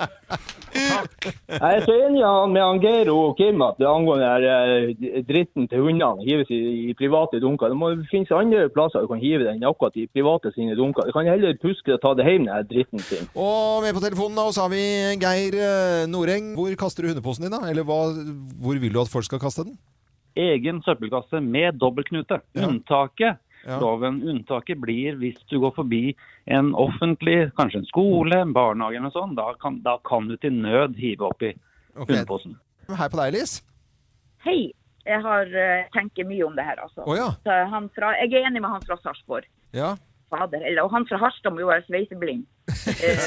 Jeg er så enig med han- med han Geir og Kim at det angående her, eh, dritten til hundene hives i, i private dunker. Det må finnes andre plasser du kan hive den enn akkurat i private sine dunker. Du kan heller puske det og ta det hjem, den her dritten sin. Og med på telefonen da, så har vi Geir eh, Noreng. Hvor kaster du hundeposen din, da? Eller hva, hvor vil du at folk skal kaste den? egen søppelkasse med dobbeltknute. Ja. Unntaket. Ja. Loven unntaket blir hvis du går forbi en offentlig, kanskje en skole, en barnehage eller noe sånt. Da kan, da kan du til nød hive oppi Ok. hundeposen. Hei på deg, Lis. Hei. Jeg har eh, tenker mye om det her, altså. Å ja. Så han fra, jeg er enig med han fra Sarpsborg. ja. Fader, eller, og han fra Harstad må jo være sveiseblind. Eh,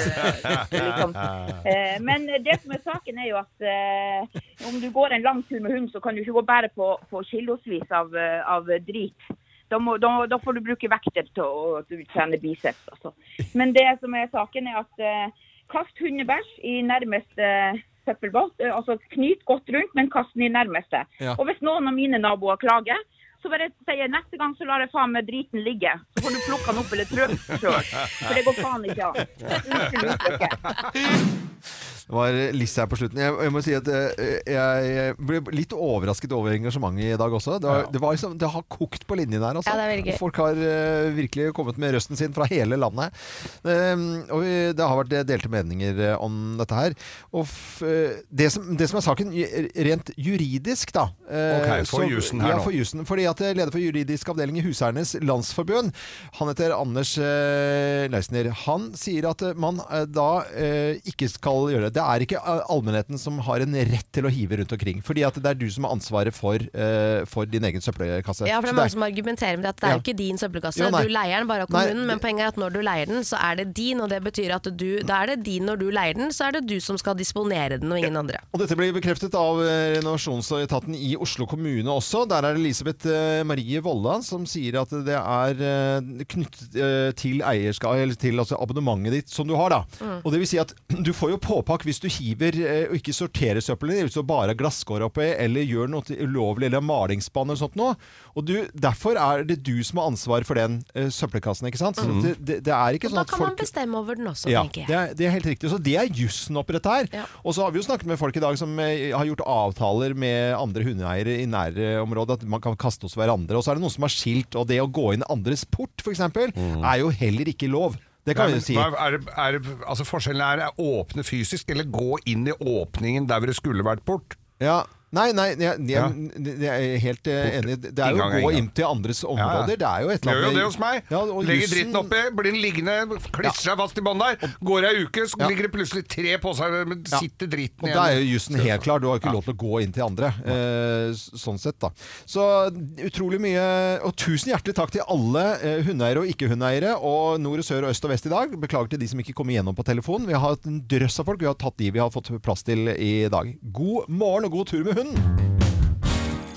liksom. Eh, men det som er saken, er jo at eh, om du går en lang tur med hund, så kan du ikke gå bare på, på kilosvis av, eh, av drit. Da, må, da, da får du bruke vekter til å til å utsende biceps. Altså. Men det som er saken, er at eh, kast hundebæsj i nærmeste søppelbåt. Eh, altså knyt godt rundt, men kast den i nærmeste. Ja. Og hvis noen av mine naboer klager, så bare sier jeg neste gang så lar jeg faen meg driten ligge. Så får du plukke den opp eller trø sjøl. For det går faen ikke an. Unnskyld uttrykket. Det var Liss her på slutten. Jeg, jeg må si at eh, jeg ble litt overrasket over engasjementet i dag også. Det, var, det, var liksom, det har kokt på linjen her. Altså. Ja, det er veldig gøy. Folk har eh, virkelig kommet med røsten sin fra hele landet. Ehm, og vi- det har vært eh, delte meninger eh, om dette her. Og f, eh, det, som, det som er saken ju- rent juridisk, da eh, Ok, så- for jussen her ja, nå. for jussen, fordi at eh, leder for juridisk avdeling i Huseiernes Landsforbund, han heter Anders eh, Leisner, han sier at eh, man eh, da eh, ikke skal gjøre det. Det er ikke eh, allmennheten som har en rett til å hive rundt omkring, fordi at det er du som har ansvaret for, eh, for din egen søppelkasse. Ja, for det er Så mange som argumenterer med at det er Ja. jo ikke din søppelkasse. Jo, nei. du leier den bare av Nei, kommunen, men det- poenget er at når du leier den, så er det din, og det betyr at du, da er det din når du leier den, så er det du som skal disponere den, og ingen andre. Og dette blir bekreftet av eh, renovasjonsetaten i Oslo kommune også. Der er det Elisabeth eh, Marie Vollan som sier at det er eh, knyttet eh, til eierskap, eller til altså abonnementet ditt som du har. da. Mm. Og det vil si at du får jo påpakk hvis du hiver eh, og ikke sorterer søppelet, hvis du bare har glasskår oppi, eller gjør noe til- ulovlig, eller har malingsspann eller sånt noe. Og du, derfor er det du som har ansvar for den eh, søppelkassen, ikke sant? Så det, det, det er ikke Mm. sånn Og da at kan man folk bestemme over den også, ja, tenker jeg. det er, det er helt riktig. Så det er jussen oppi dette her. Ja. Og så har vi jo snakket med folk i dag som eh, har gjort avtaler med andre hundeeiere i nærområdet, at man kan kaste hos hverandre. Og så er det noen som har skilt, og det å gå inn andres port f.eks. eksempel er jo heller ikke lov. Det kan vi Mm. Nei, men jo si. hva Er, det- er, det- altså forskjellen er, er åpne fysisk, eller gå inn i åpningen der hvor det skulle vært bort. Ja. Nei, nei, jeg, jeg, jeg, er helt eh, enig. Det er jo Inngang å er gå inngang. inn til andres områder. Det er jo et eller Gjør annet jo det hos meg. Ja, og Legger jussen- dritten oppi, blir den liggende, klistrer seg fast i bånn der. Går ei uke, så ligger det plutselig tre poser, men sitter dritten Og da er jo jussen helt klar. Du har ikke lov til å gå inn til andre. Eh, s- sånn sett, da. Så utrolig mye Og tusen hjertelig takk til alle eh, hundeeiere og ikke-hundeeiere og nord og sør og øst og vest i dag. Beklager til de som ikke kom igjennom på telefon. Vi har hatt en drøss av folk. Vi har tatt de vi har fått plass til i dag. God morgen og god tur med hunden!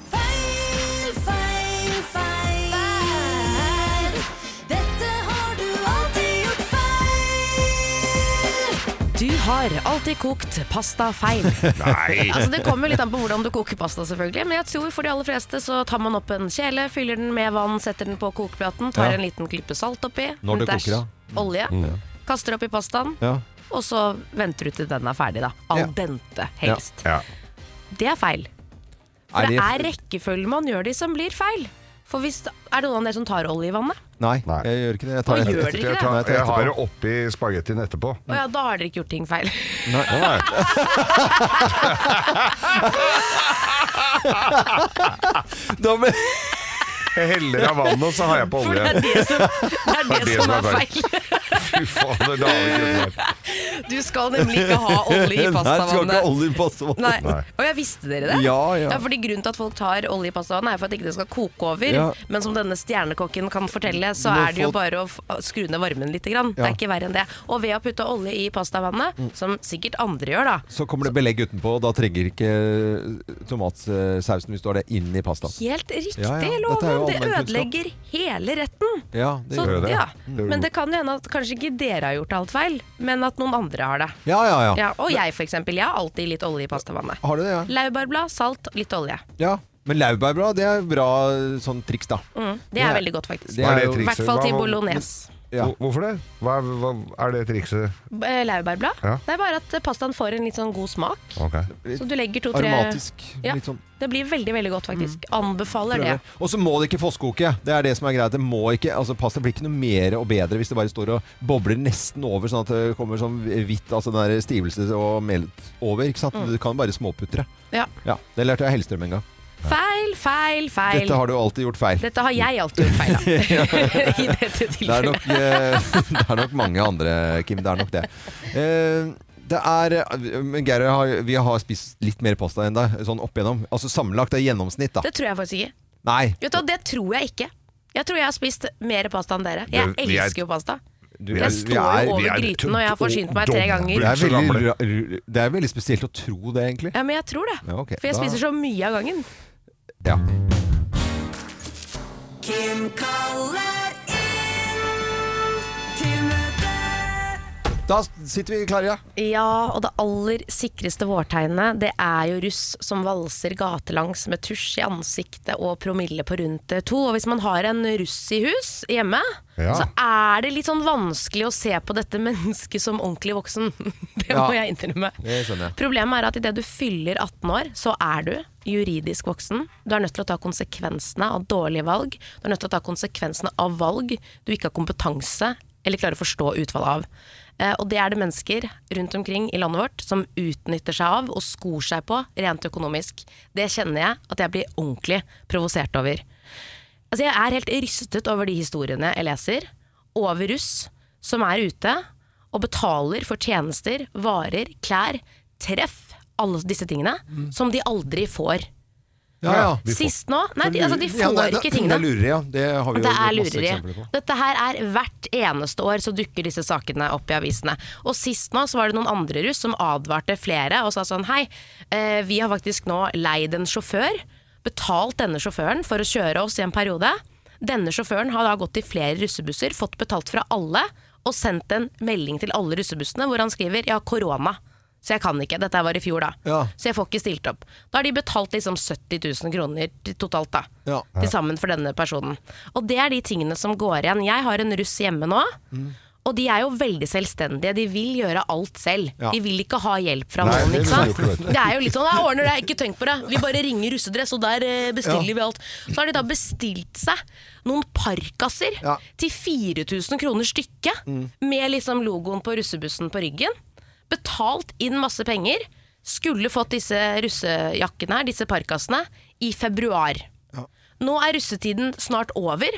Feil, feil, feil. Dette har du alltid gjort feil. Du har alltid kokt pasta feil. Nei. altså Det kommer jo litt an på hvordan du koker pasta, selvfølgelig. Men jeg tror for de aller fleste så tar man opp en kjele, fyller den med vann, setter den på kokeplaten, tar Ja. en liten klype salt oppi, Når en det dash koker, ja. olje, Mm. kaster oppi pastaen, Ja. og så venter du til den er ferdig, da. Al dente, helst. Ja. Det er feil. For Er det, det- er rekkefølgen man gjør de som blir feil. For hvis, er det noen av dere som tar olje i vannet? Nei, jeg gjør ikke det. Jeg tar Å, et- gjør dere jeg ikke det? tar- jeg tar Jeg har det etterpå. oppi spagettien etterpå. Å ja, da har dere ikke gjort ting feil. Nei. Da ble- Jeg heller av vannet, og så har jeg på For olje. det er det som, det er, det som er feil. Fy fader, det har vi ikke gjort. Du skal nemlig ikke ha olje i Nei, du skal ikke ha pastavannet. olje i pastavannet. Nei. Og jeg visste dere det? Ja, ja. fordi Grunnen til at folk tar olje i pastavannet, er for at ikke det skal koke over. Ja. Men som denne stjernekokken kan fortelle, så Når er det jo folk- bare å f- skru ned varmen litt. Grann. Det Ja. er ikke verre enn det. Og ved å putte olje i pastavannet, Mm. som sikkert andre gjør, da. Så kommer det belegg utenpå, og da trenger ikke eh, tomatsausen hvis du har det inn i pastaen. Helt riktig, Ja, ja. Dette er jo Loven! Det allmennkunnskap. ødelegger hele retten. Ja, det Så, gjør jo det. ja. Mm. Men det kan jo hende at kanskje ikke dere har gjort alt feil, men at noen andre har det. Ja, ja, ja. Ja, og jeg for eksempel, jeg har alltid litt olje i pastavannet. Har du det, ja? Laurbærblad, salt, litt olje. Ja. Men laurbærblad, det er bra sånn triks, da. Mm, det, Det er, er- veldig godt faktisk. det er Hva er det jo- I trikset? hvert fall Hva- til hva- bolognese. Hvor- Hvorfor det? Hva, er- hva er det trikset? Mm. B- eh, Laurbærblad. Ja. Det er bare at eh, pastaen får en litt sånn god smak. Ok. Så du legger to-tre Aromatisk, Ja, litt sånn. Det blir veldig veldig godt, faktisk. Anbefaler Prøver. det. Og så må det ikke fosskoke. Det er det som er greit. Det må ikke, altså Pasta blir ikke noe mer og bedre hvis det bare står og bobler nesten over, sånn at det kommer sånn hvitt altså den der stivelse og melt over. ikke sant? Mm. Du kan bare småputre. Ja. Ja, Det lærte jeg av Hellstrøm en gang. Feil, feil, feil. Dette har du alltid gjort feil. Dette har jeg alltid gjort feil, da. I dette Det er, tilfellet. nok, eh, det er nok mange andre, Kim. Det er nok det. Eh, det er eh, Men Geir, og jeg har, vi har spist litt mer pasta enn deg, sånn opp igjennom. Altså sammenlagt det er gjennomsnitt, da. Det tror jeg faktisk ikke. Nei. Vet du, hva, det tror jeg ikke. Jeg tror jeg har spist mer pasta enn dere. Jeg Det- vi er- elsker jo pasta. Du- jeg vi står jo er- vi over er gryten, og jeg har forsynt meg tre Det ganger. er, veldig, ra- r- det er veldig spesielt å tro det, egentlig. Ja, men jeg tror det. Ja, ok. For jeg Da- spiser så mye av gangen. Ja. Kim kaller inn til møte. Da sitter vi klare, ja. Ja, og det aller sikreste vårtegnet, det er jo russ som valser gatelangs med tusj i ansiktet og promille på rundt eh, to. Og hvis man har en russ i hus hjemme, Ja. så er det litt sånn vanskelig å se på dette mennesket som ordentlig voksen. Det må Ja. jeg innrømme. Det skjønner jeg. Problemet er at idet du fyller 18 år, så er du juridisk voksen. Du er nødt til å ta konsekvensene av dårlige valg. Du er nødt til å ta konsekvensene av valg du ikke har kompetanse eller klarer å forstå utfallet av. Eh, Og det er det mennesker rundt omkring i landet vårt som utnytter seg av og skor seg på rent økonomisk. Det kjenner jeg at jeg blir ordentlig provosert over. Altså jeg er helt rystet over de historiene jeg leser. Over russ som er ute og betaler for tjenester, varer, klær, treff, alle disse tingene, Mm. som de aldri får. Ja, ja. De får- Sist nå? Nei, de- altså, de Ja, nei, får da- ikke tingene. Det er lureri, ja. Det har vi jo det er masse lureri. eksempler på. Dette her er hvert eneste år så dukker disse sakene opp i avisene. Og sist nå så var det noen andre russ som advarte flere og sa sånn hei, eh, vi har faktisk nå leid en sjåfør, betalt denne sjåføren for å kjøre oss i en periode. Denne sjåføren har da gått i flere russebusser, fått betalt fra alle og sendt en melding til alle russebussene hvor han skriver jeg har korona. Så jeg kan ikke. Dette var i fjor, da. Så jeg får ikke stilt opp. Da har de betalt liksom 70 000 kroner til- totalt, da Ja. Mm. til sammen for denne personen. Og det er de tingene som går igjen. Jeg har en russ hjemme nå, Og de er jo veldig selvstendige. De vil gjøre alt selv. Ja. De vil ikke ha hjelp fra Nei, noen. ikke det vil sant? de jo ikke, vet du. Det er jo litt sånn 'jeg ordner det, ikke tenk på det'. Vi bare ringer russedress, og der eh, bestiller Ja. vi alt. Så har de da bestilt seg noen parkaser til 4000 kroner stykket, Mm. med liksom logoen på russebussen på ryggen. Betalt inn masse penger. Skulle fått disse russejakkene her, disse parkasene, i februar. Nå er russetiden snart over.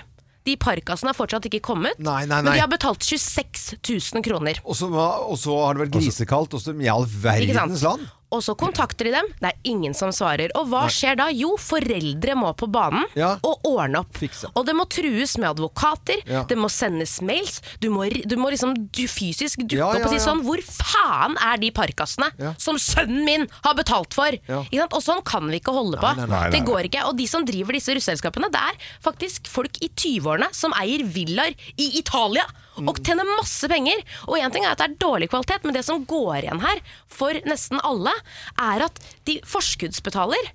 De parkasene er fortsatt ikke kommet, nei, men nei. de har betalt 26 000 kroner. Og så, var- og så har det vært grisekaldt, og så i all Ikke sant? verdens land. Og så kontakter de dem, det er ingen som svarer. Og hva Nei. skjer da? Jo, foreldre må på banen og ordne opp. Og det må trues med advokater, Ja. det må sendes mails, du må, ri- du må liksom du fysisk dukke Ja, opp og ja, si ja. sånn Hvor faen er de parkasene Ja. som sønnen min har betalt for? Ja. Ikke sant? Og sånn kan vi ikke holde på. Nei, nei, nei, det nei. går ikke. Og de som driver disse russeselskapene, det er faktisk folk i 20-årene som eier villaer i Italia og Mm. tjener masse penger. Og én ting er at det er dårlig kvalitet, men det som går igjen her for nesten alle, er at de forskuddsbetaler.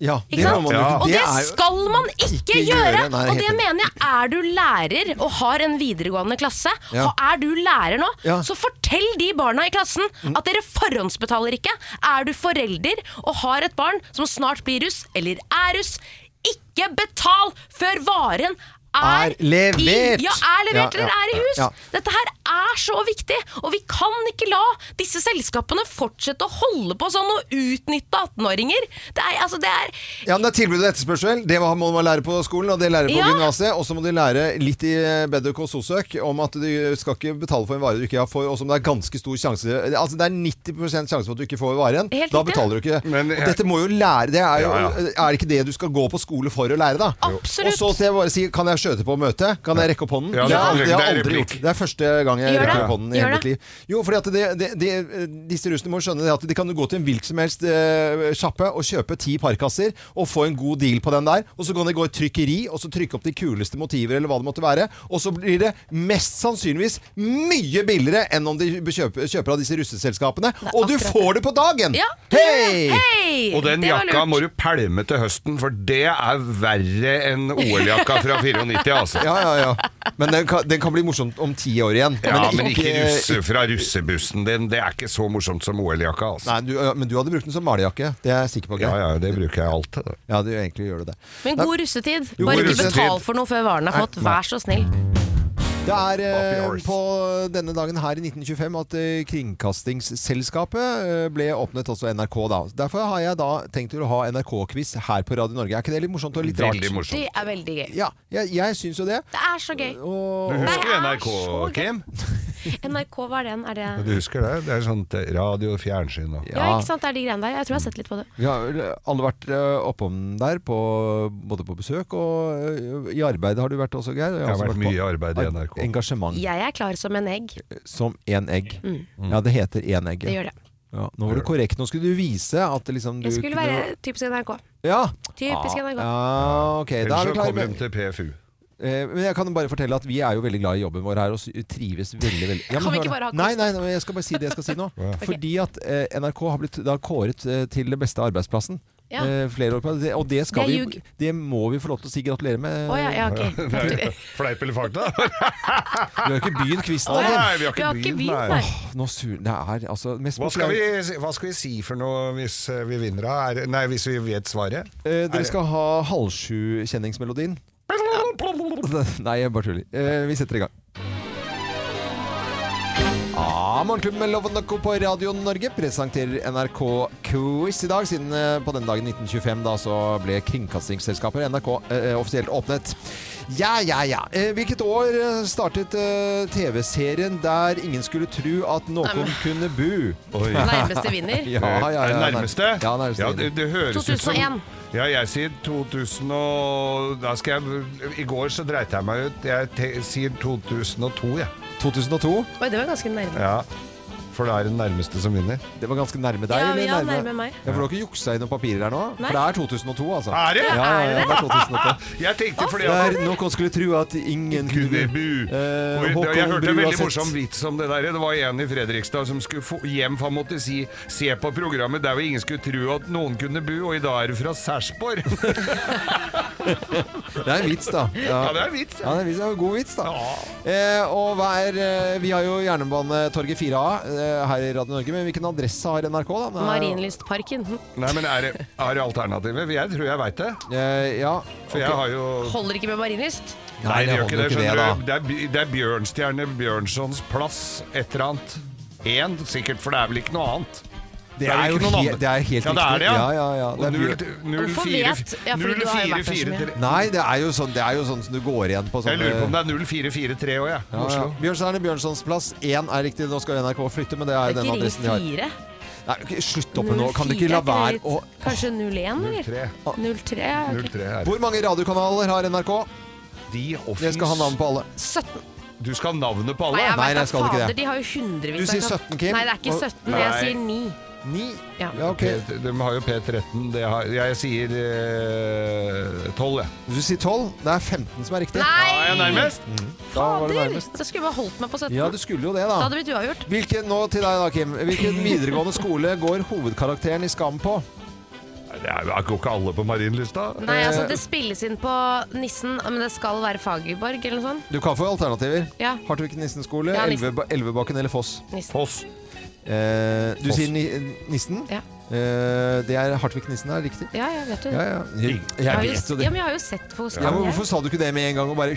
Ja, Ikke sant? må man jo ikke- Og det er jo- skal man ikke, gjøre! gjøre, nei, og det helt enig. mener jeg. Er du lærer og har en videregående klasse, Ja. og er du lærer nå, Ja. Mm. så fortell de barna i klassen at dere forhåndsbetaler ikke. Er du forelder og har et barn som snart blir russ, eller er russ, ikke betal før varen er, Er levert. I, ja, er levert Ja, ja, eller er i hus! ja. Dette her er så viktig, og vi kan ikke la disse selskapene fortsette å holde på sånn og utnytte 18-åringer. Det er, altså, det er Ja, men Det er tilbud og etterspørsel. Det må man lære på skolen, og det lærer på Ja. gymnaset. Og så må de lære litt i Bedøk og Sosøk om at du skal ikke betale for en vare du ikke har for, og som det er ganske stor sjanse Altså det er 90 sjanse for at du ikke får varen. Helt da riktig. betaler du ikke. Men jeg- og dette må jo lære Det er jo eh, Ja, Er det ikke det du skal gå på skole for å lære, da? Og Absolutt. så til jeg bare si Kan jeg skjøte på møtet? Kan jeg rekke opp hånden? Ja, det har det jeg er- det er aldri replikk. gjort. Det er første gang jeg Gjør rekker det. opp hånden i Gjør hele det. mitt liv. Jo, fordi at det, det, det, disse russene må skjønne det at de kan jo gå til en hvilken som helst eh, sjappe og kjøpe ti parkasser og få en god deal på den der. Og så kan de gå i trykkeri og så trykke opp de kuleste motiver eller hva det måtte være. Og så blir det mest sannsynligvis mye billigere enn om de kjøper, kjøper av disse russeselskapene. Og du får det på dagen! Ja, Hei! Og den Det var jakka lurt. må du pælme til høsten, for det er verre enn OL-jakka fra 94, altså. Ja, ja, ja. Men den kan, den kan bli morsomt om ti år igjen. Ja, men ikke russe fra russebussen din. Det er ikke så morsomt som OL-jakka, altså. Nei, du, ja, men du hadde brukt den som malejakke. Det er jeg sikker på. Ja, ja, det bruker jeg alltid. da. Ja, du egentlig gjør du det. Men god russetid. Jo, Bare god ikke russetid. betal for noe før varen er fått. Vær så snill. Det er eh, på denne dagen her i 1925 at eh, Kringkastingsselskapet eh, ble åpnet, altså NRK da. Derfor har jeg da tenkt til å ha NRK-quiz her på Radio Norge. Er ikke det litt morsomt og litt rart? Veldig morsomt. Det er veldig gøy. Ja, jeg, jeg syns jo det. Det er så gøy. Du husker NRK, Kim? NRK, hva er den? Er det Ja, Du husker det? Det er sånt eh, radio og fjernsyn og Ja, ikke sant? Det er de greiene der. Jeg tror jeg har sett litt på det. Vi har vel alle vært eh, oppom der, på, både på besøk og eh, i arbeid har du vært også, Geir. Jeg har også vært mye i arbeid i ar- NRK. Engasjement Jeg er klar som en egg. som én egg. Mm. Ja, det heter én egg. Det gjør det. Ja, nå var du korrekt. Nå skulle du vise at det liksom du Jeg skulle kunne- være typisk NRK. Ja. Typisk NRK. Ja, ok, da Ah, Ellers er så vi klare kommer de med til PFU. Eh, men jeg kan bare fortelle at vi er jo veldig glad i jobben vår her og s- trives veldig veldig Ja, men Kan vi hør ikke nå. bare ha kos? Nei, nei, nei, jeg skal bare si det jeg skal si nå. Ja. Ok. Fordi at eh, NRK har blitt da kåret eh, til det beste arbeidsplassen. Ja. Eh, flere år på det, og det skal Det vi er ljug. Det må vi få lov til å si gratulerer med. Å ja, ja, ok. Nei, Fleip eller fakta? Vi har jo ikke byen kvisten Nei, Kim. vi har ikke Vi har ikke byen, byen, nei. Åh, nå sur, det er altså mest Hva skal, populære- vi, hva skal vi si for noe hvis eh, vi vinner? da? Er, nei, hvis vi vet svaret? Eh, dere skal ha halvsju-kjenningsmelodien. Nei, jeg bare tuller. Eh, vi setter i gang. Ah, Morgenklubben med Loven og Co. på Radio Norge presenterer NRK Quiz i dag, siden eh, på denne dagen 1925 da så ble kringkastingsselskapet NRK eh, offisielt åpnet. Ja, ja, ja. Eh, hvilket år eh, startet eh, TV-serien der ingen skulle tro at noen Nei, men- kunne bu? Nærmeste vinner. ja, ja, ja, Er det nærmeste? Ja, nærmeste Ja, vinner. det, det høres ut som 2001. Ja, jeg sier 2000 og Da skal jeg I går så dreit jeg meg ut. Jeg te, sier 2002, jeg. 2002? Oi, det var ganske nærme. Ja. For da er det den nærmeste som vinner. Det var ganske nærme deg, Ja, eller ja, nærme- nærme meg. Ja, for du har ikke juksa i noen papirer her nå? Nei. For det er 2002, altså. Er det? Ja, ja, ja, det er 2002. jeg tenkte fordi Der at noen skulle tro at ingen kunne Bu. Eh, Hvor- Håkon Jeg hørte en Bru har veldig sett- morsom vits om det der. Det var en i Fredrikstad som skulle få hjem, for han måtte si 'se på programmet der hvor ingen skulle tro at noen kunne bu', og i dag er du fra Sarpsborg. Det er en vits, da. Ja, det er en vits, ja. Ja, det er en vits, ja. God vits, da. Eh, og hva er, eh, vi har jo Jernbanetorget 4A eh, her i Radio Norge, men hvilken adresse har NRK? da? Den er- Marienlystparken. Hm. Nei, men er det, er det alternativet? For Jeg tror jeg veit det. For jeg har jo Holder ikke med Marienlyst. Nei, det gjør ikke det. holder ikke Eh, det, skjønner du. Det er, Bi- det er Bjørnstjerne Bjørnsons plass, et eller annet. Én, sikkert, for det er vel ikke noe annet. Det vel er jo ikke noen he- andre. det er helt ja, det riktig. er det, ja. Ja, ja, ja. Det er Og Bjørn- 0, 0, Hvorfor 4, vet? Ja, fordi du har jo vært der så mye. Nei, det er jo sånn, det er jo sånn som du går igjen på sånne Jeg lurer på om det er 0443 òg, jeg. ja, ja. Oslo. Bjørnstjerne Bjørnsons plass 1 er riktig. Nå skal NRK flytte, men det er Det er den ikke Ring adressen de har. 4. Nei, ok, slutt opp nå. Kan du ikke la 04 er være litt- å Kanskje 01, eller? 03. ja, ok. 03 er det. Hvor mange radiokanaler har NRK? De offens... Jeg skal ha navn på alle. 17. Du skal ha navnet på alle? Nei, jeg Nei, vet jeg da skal ikke det. fader, de har jo hundrevis Du sier kan- 17, Kim. Nei, det er ikke Og- 17, jeg Nei. sier 9. 9? Ja. Ja, ok. P- De har jo P13. Det har, jeg sier eh, 12, jeg. Du sier 12. Det er 15 som er riktig. Ja, jeg Nei! er nærmest. Da var du Fader! nærmest. Da skulle jeg bare holdt meg på 17. Ja, du skulle jo det, Da da. hadde det blitt uavgjort. Hvilken, nå til deg da, Kim. Hvilken videregående skole går hovedkarakteren i Skam på? Nei, Det er, jo- går ikke alle på Marienlysta? Nei, altså Det spilles inn på Nissen, men det skal være Fagerborg eller noe sånt. Du kan få alternativer. Ja. Hartvig Nissen skole, Ja, Nissen. Elveba- Elvebakken eller Foss. Nissen. Foss. Eh, du Foss. sier ni Nissen. Ja. Eh, det er Hartvig Nissen, det er riktig. Ja, jeg vet jo Ja, det. ja. Jeg, Jeg jeg har jo, vet jo ja, det. men jeg har jo sett på Ja, men skolen. hvorfor sa du ikke det med en gang? Og bare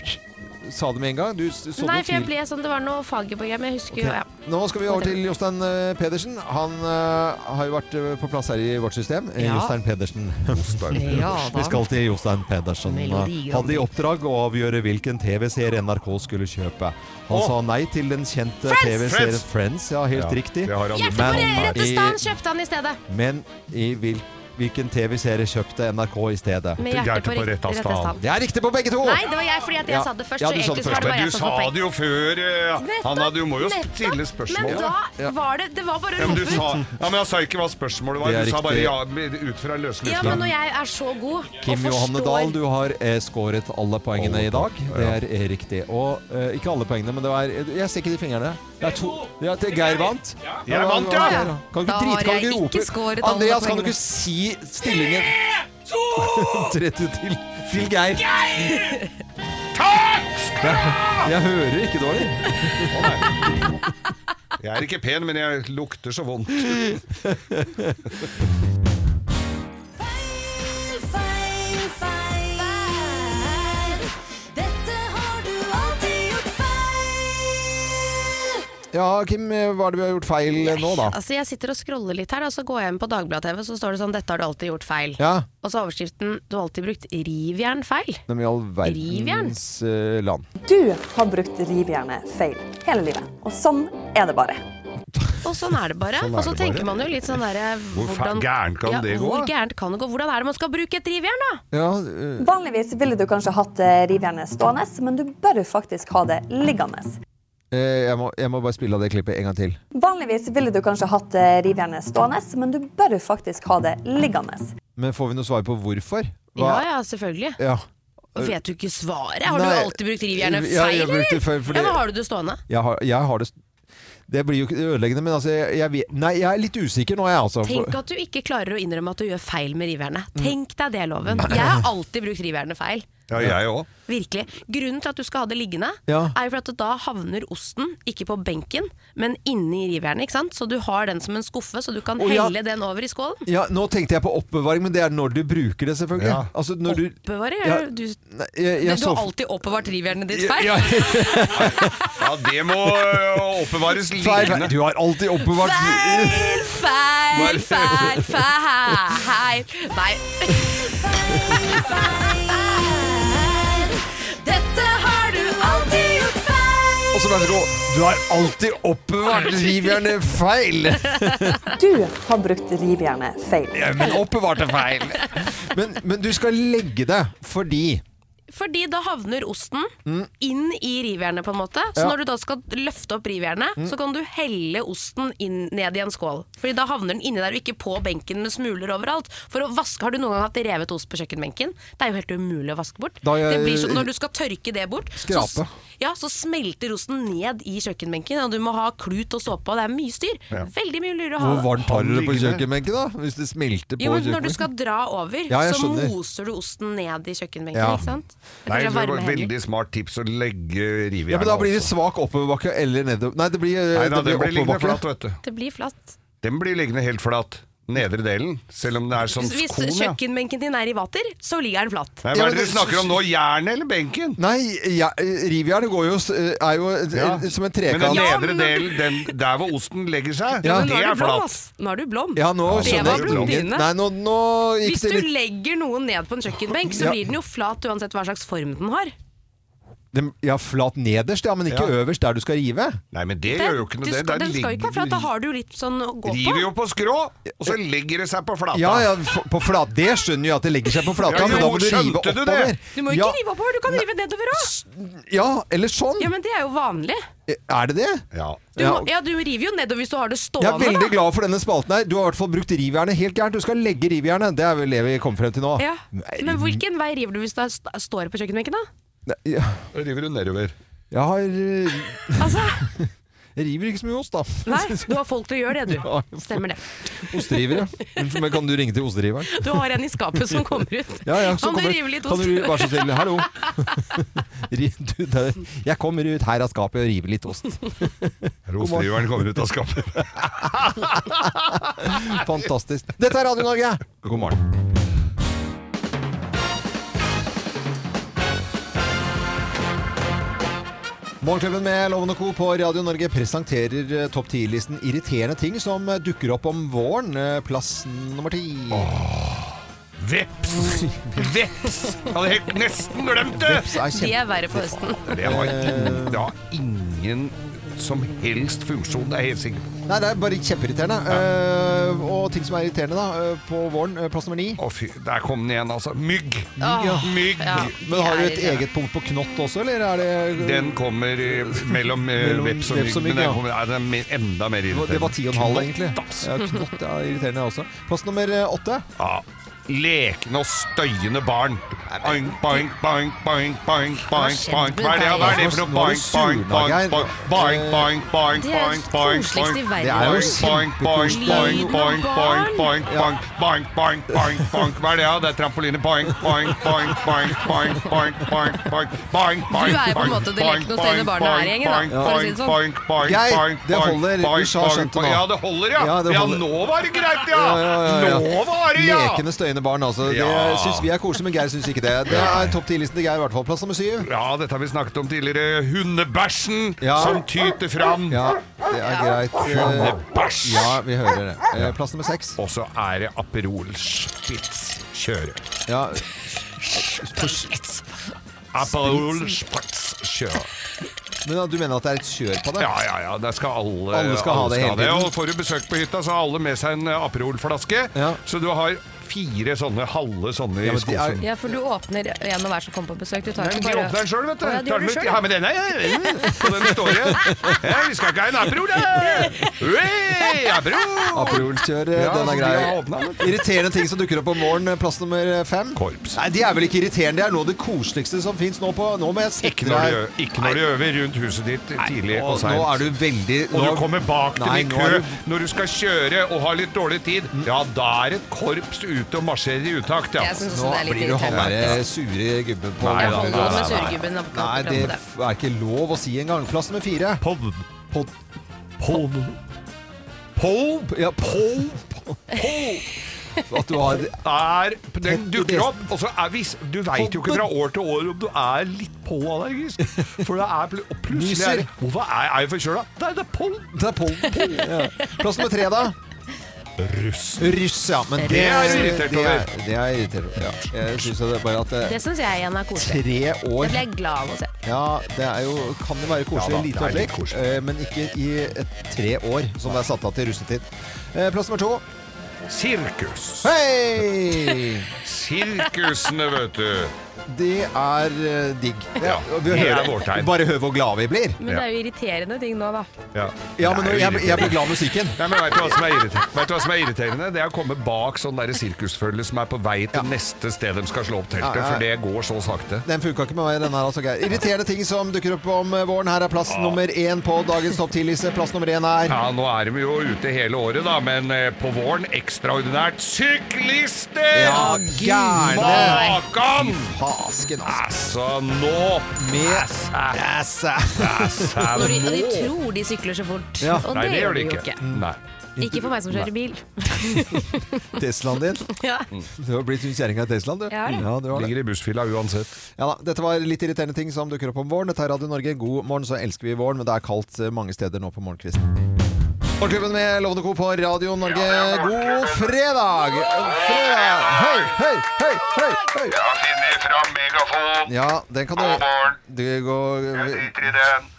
sa det med en gang? Du s- så Nei, noe for jeg tvil. ble sånn, det var noe Fagerborg-greier, men jeg husker jo ja. Nå skal vi over til Jostein eh, Pedersen. Han eh, har jo vært eh, på plass her i vårt system. Eh, Ja. Jostein Pedersen. Ja da. vi skal til Jostein Pedersen. Eh, Melodi Grand Hadde i oppdrag å avgjøre hvilken TV-serie NRK skulle kjøpe. Han Åh. sa nei til den kjente TV-serien Friends! Friends. Ja, helt Ja, riktig. det har han Men- gjort. Hjerteforretestan kjøpte han i stedet! Men i hvil, hvilken TV-serie kjøpte NRK i stedet? Med Til hjertet hjertet på på rett rett av rett av stan. stand. Det er riktig på begge to! Nei, det var jeg fordi at jeg Ja. sa det først. Ja, du sa det Så egentlig så først, var det bare Men du jeg som sa fikk poeng. det jo før eh, Nettopp, Hanna, du må jo nettopp. stille spørsmål. Men Ja. da var det Det var bare Ja, å men du rope sa, ut. ja, men jeg sa ikke hva spørsmålet var. Det er Du sa bare riktig. ja med- ut fra Ja, men løslufta. når jeg er så god Kim og Johanne forstår Dahl, du har eh, skåret alle poengene Alle i dag. Det er eh, riktig. Og eh, ikke alle poengene, men det var eh, Jeg ser ikke de fingrene. Det er to ja, det er Geir vant. Jeg vant, Geir, ja! Kan du ikke Da har drite, kan du jeg ikke ikke skåret rope alle Andreas, kan du poengene. ikke si stillingen? 3-2 til, til Geir. Jeg, jeg hører ikke dårlig. Jeg er ikke pen, men jeg lukter så vondt. Feil, feil, feil. Dette har du alltid gjort feil. Ja, Kim, hva er det vi har gjort feil eh, nå, da? Altså, jeg sitter og scroller litt her, og så går jeg inn på Dagbladet-TV, så står det sånn 'Dette har du alltid gjort feil'. Ja, Og så overskriften 'Du har alltid brukt rivjern feil'. de i all verdens eh, land. Du har brukt rivjernet feil hele livet, og sånn er det bare. Og sånn er det bare. Sånn er og så det bare. tenker man jo litt sånn derre Hvor fa- gærent kan det gå, Hvor da? gærent kan det gå? Hvordan er det man skal bruke et rivjern, da? Ja, eh, Vanligvis ville du kanskje hatt eh, rivjernet stående, men du bør faktisk ha det liggende. eh, jeg, må, jeg må bare spille av det klippet en gang til. Vanligvis ville du kanskje hatt eh, rivjernet stående, men du bør faktisk ha det liggende. Men får vi noe svar på hvorfor? Ja ja, selvfølgelig. Ja. Vet du ikke svaret? Har Nei. du alltid brukt rivjernet Ja, jeg feil, har brukt det feil, fordi- Ja, men har du det stående? Jeg har, jeg har det Det blir jo ikke ødeleggende, men altså jeg, jeg, vet- Nei, jeg er litt usikker nå, jeg, altså. Tenk at du ikke klarer å innrømme at du gjør feil med rivjernet. Mm. Tenk deg det, Loven. Jeg har alltid brukt rivjernet feil. Ja, jeg òg. Virkelig. Grunnen til at du skal ha det liggende, Ja. er jo for at da havner osten ikke på benken, men inni rivjernet. ikke sant? Så du har den som en skuffe, så du kan Å, ja. helle den over i skålen. Ja, nå tenkte jeg på oppbevaring, men det er når du bruker det, selvfølgelig. Ja. Altså, når du Oppbevarer Ja, du, du, Nei, jeg, jeg så har alltid oppbevart rivjernet ditt feil. Ja, Ja, det må ø, oppbevares feil, feil. liggende. Du har alltid oppbevart Feil, feil, feil, feil. Nei. Dette har du alltid gjort feil. Og så vær så god. Du har alltid oppbevart rivjernet feil! Du har brukt rivjernet feil. Men oppbevarte feil. Men, men du skal legge det fordi Fordi da havner osten Mm. inn i rivjernet, på en måte. Så Ja. når du da skal løfte opp rivjernet, Mm. så kan du helle osten inn, ned i en skål. Fordi da havner den inni der, og ikke på benken med smuler overalt. For å vaske Har du noen gang hatt revet ost på kjøkkenbenken? Det er jo helt umulig å vaske bort. Da jeg- det blir som, når du skal tørke det bort, Skrape. Så, ja, så smelter osten ned i kjøkkenbenken, og du må ha klut og såpe, og det er mye styr. Ja. Veldig mye lurere å ha. Hvor varmt har du det på kjøkkenbenken, da? Hvis det smelter på Jo, men Når du kjøkkenbenken? skal dra over, Ja, jeg så skjønner. moser du osten ned i kjøkkenbenken. Ja. ikke sant? Det Nei, kanskje det er var varme et hender. veldig smart tips å legge Ja, rivjernet men Da blir det svak oppoverbakke eller nedover Nei, det blir, eh, Nei da, det den blir liggende oppoverbakke. flat, vet du. Det blir flatt. Den blir liggende helt flat. Nedre delen. Selv om det er sånn Hvis skon, ja. kjøkkenbenken din er i vater, så ligger den flatt. Nei, hva er det dere snakker om nå? Jernet eller benken? Nei, ja, rivjernet går jo s- er jo eh, Ja. som en Men den trekant. nedre delen, den, der hvor osten legger seg, Ja. det er flatt. Nå er du blond. Ja, nå det skjønner var jeg. blondine. Nei, nå, nå gikk Hvis det du litt legger noen ned på en kjøkkenbenk, så Ja. blir den jo flat uansett hva slags form den har. Den- Ja, flat nederst, ja, men ikke øverst der du skal rive. Nei, men det Den- du skal, den skal jo ikke være flat, da har du jo litt sånn å gå på. River jo på skrå, og så legger det seg på flata. Ja, ja, f- på flat. Det skjønner jeg at det legger seg på flata, Ja, men da jo, må du rive skjønte du det? oppover. Du må ikke ja, rive oppover, du kan rive nedover òg. ja, eller sånn. Eh, Ja, men det er jo vanlig. Er det det? Ja. Du, må, ja, du river jo nedover hvis du har det Jeg stående. er veldig da. glad for denne spalten her. Du har i hvert fall brukt rivjernet helt gærent. Du skal legge rivjernet. Det er vel det vi kom frem til nå. Ja. Men hvilken vei river du hvis du er- st- står på kjøkkenbenken, da? Nei, ja. Da river du nedover. Jeg har eh, Jeg river ikke så mye ost, da. Altså, Nei, du har folk til å gjøre det, du. Stemmer det. Osterivere. Unnskyld meg, kan du ringe til osteriveren? Du har en i skapet som kommer ut. Ja, ja, så kan du kommer- rive litt kan ost? du ri- Vær så snill, hallo. Ri- du, det- Jeg kommer ut her av skapet og river litt ost. Rostriveren kommer ut av skapet. Fantastisk. Dette er Radio Norge! God morgen. Morgenklubben med Loven og Co. på Radio Norge presenterer eh, topp 10-listen irriterende ting som eh, dukker opp om våren. Eh, Plass nummer ti. Veps! Veps! Jeg hadde helt nesten glemt det! Veps er De er verre på høsten. Det har ingen, det har ingen som helst funksjon, det er jeg helt sikker på. Nei, det er bare kjempeirriterende. Eh, og ting som er irriterende da, eh, på våren. eh, Plass nummer ni. Å fy, der kom den igjen, altså. Mygg! Mygg, ja. Mygg. Men har du et eget punkt på knott også, eller er det Den kommer eh, mellom eh, Mellom veps og mygg, men ja. den kommer, nei, den er mer- enda mer irriterende. Det var ti og en halv, egentlig. Knott, ass. Ja, knott ja, irriterende jeg også. Plass nummer eh, åtte. Ja. Lekende og støyende barn. Boing, boing, boing, boing, boing, boing, boing. Hva er det, hva er det for noe? Boing, boing, boing, boing, boing, Eh, boing, boing, Det er boing, boing, koseligst i boing, boing, verden. boing, boing, Lyden av boing, boing, barn. boing, Ja. boing, boing, boing, boing, boing. Hva er det, ja? Det er trampoline. Boing, boing, boing, boing, boing, boing, boing, boing, boing, boing, Du er på en måte det boing, lekne og boing, støyende barnet her i gjengen, da, boing, for å si det sånn. boing, boing, Geir, boing, det boing, holder. boing, USA boing, skjønte boing. nå. Ja, det holder, ja. Ja, det Ja, holder. nå var det greit, ja. Nå var det, ja. Lekende, støyende barn, altså. Ja. Det syns vi er koselig, men Geir syns ikke det. Det er topp ti-listen til Geir, i hvert fall. Plass nummer syv. Ja, dette har vi snakket om tidligere. Hundebæsjen Ja. som tyter fram. Ja, det er greit. eh, Hundebæsj! Ja, vi hører det. Eh, Plass nummer seks. Og så er det Aperol Spitz kjøre. Ja. Aperol Spitz kjøre. Men ja, du mener at det er et kjør på det? Ja, ja, ja. Der skal alle, Alle skal ha det hele tiden. Og får du besøk på hytta, så har alle med seg en eh, Aperol-flaske. Så du har fire sånne halve sånne i skuffen. Ja, for du åpner en og hver som kommer på besøk. Du tar Men ikke de bare åpner den sjøl, vet du. Å, ja, de Tar gjør den det ut. selv, Ja, men den er Og den står igjen. Ja, vi skal ikke ha en Aperol, da! Ui, Aperol! Aperolkjør, eh, Ja, den så er de grei. har åpnet den, vet du. Irriterende ting som dukker opp om våren. eh, Plass nummer fem. Korps. Nei, de er vel ikke irriterende. Det er noe av det koseligste som fins nå på Nå må jeg sette Ikke når, deg du, ø- ikke når du øver rundt huset ditt tidlig nå- og seint. nå er du veldig- Og nå- du kommer bak dem Nei, i nå kø er du- Mm. når du skal kjøre og har litt dårlig tid. Ja, da er et korps ute og marsjerer i utakt, ja. Jeg synes også Nå det er litt blir du han irriterende, derre faktisk. sure gubben på Nei, Jeg holder nei, nei, med nei, nei. surgubben opp- Nei, opp- det opp- opp- f- er ikke lov å si engang. Plass nummer fire. Pod. Pod. Pod. Pov Ja, pov. At du har er, den dukker opp, og så er hvis, Du veit jo ikke fra år til år om du er litt pollenallergisk. For det er pl og plutselig er, det- Hvorfor er, er jeg forkjøla? Nei, det er pollen! Det er pollen. Ja. Plass nummer tre, da. Russ. Russ, ja. Men Det er du irritert det er, over. det er irritert over. Ja. Jeg syns det er bare at eh, Det syns jeg igjen er koselig. tre Det år blir jeg glad av å se. ja, det er jo, kan jo være koselig Ja da, i lite det er litt øyeblikk, eh, men ikke i et tre år, som det er satt av til russetid. Eh, Plass nummer to. Sirkus. Hei! Sirkusene, vet du. det er eh, digg. Ja, Og det er hører- vårt tegn. Bare hør hvor glade vi blir. Men det er jo irriterende ting nå, da. Ja, Ja, men Det er nå- jo jeg- jeg blir glad i irriterende. musikken. Nei, men vet du, hva som er irriterende? vet du hva som er irriterende? Det er å komme bak sånn der sirkusfølge som er på vei til neste sted de skal slå opp Ja, teltet, ja. for det går så sakte. Den funka ikke med meg, den her. altså Geir. Irriterende ting som dukker opp om eh, våren. Her er plass nummer én på dagens topp 10-liste. Plass nummer én er Ja, nå er de jo ute hele året, da, men eh, på våren ekstraordinært syklister! Ja, gærne! Makan! Fasken, altså. nå! Med Æsæ! Når de, og de nå! tror de sykler så fort, Ja. og det, Nei, det gjør de jo ikke. ikke. Nei. Ikke for meg som kjører bil. Mm. Teslaen din. Ja. Du har blitt kjerringa i Teslaen, du. Ja, det. du har det. Ligger i bussfila uansett. Ja da, Dette var litt irriterende ting som dukker opp om våren. Dette er Radio Norge. God morgen, så elsker vi våren, men det er kaldt eh, mange steder nå på morgenkvisten. Morgenklubben med Lovende Co på Radio Norge. God fredag! Fredag! Høy, høy, høy, høy! høy. Jeg har funnet fram megafon. Ja, den kan du God morgen. Det går driter i den.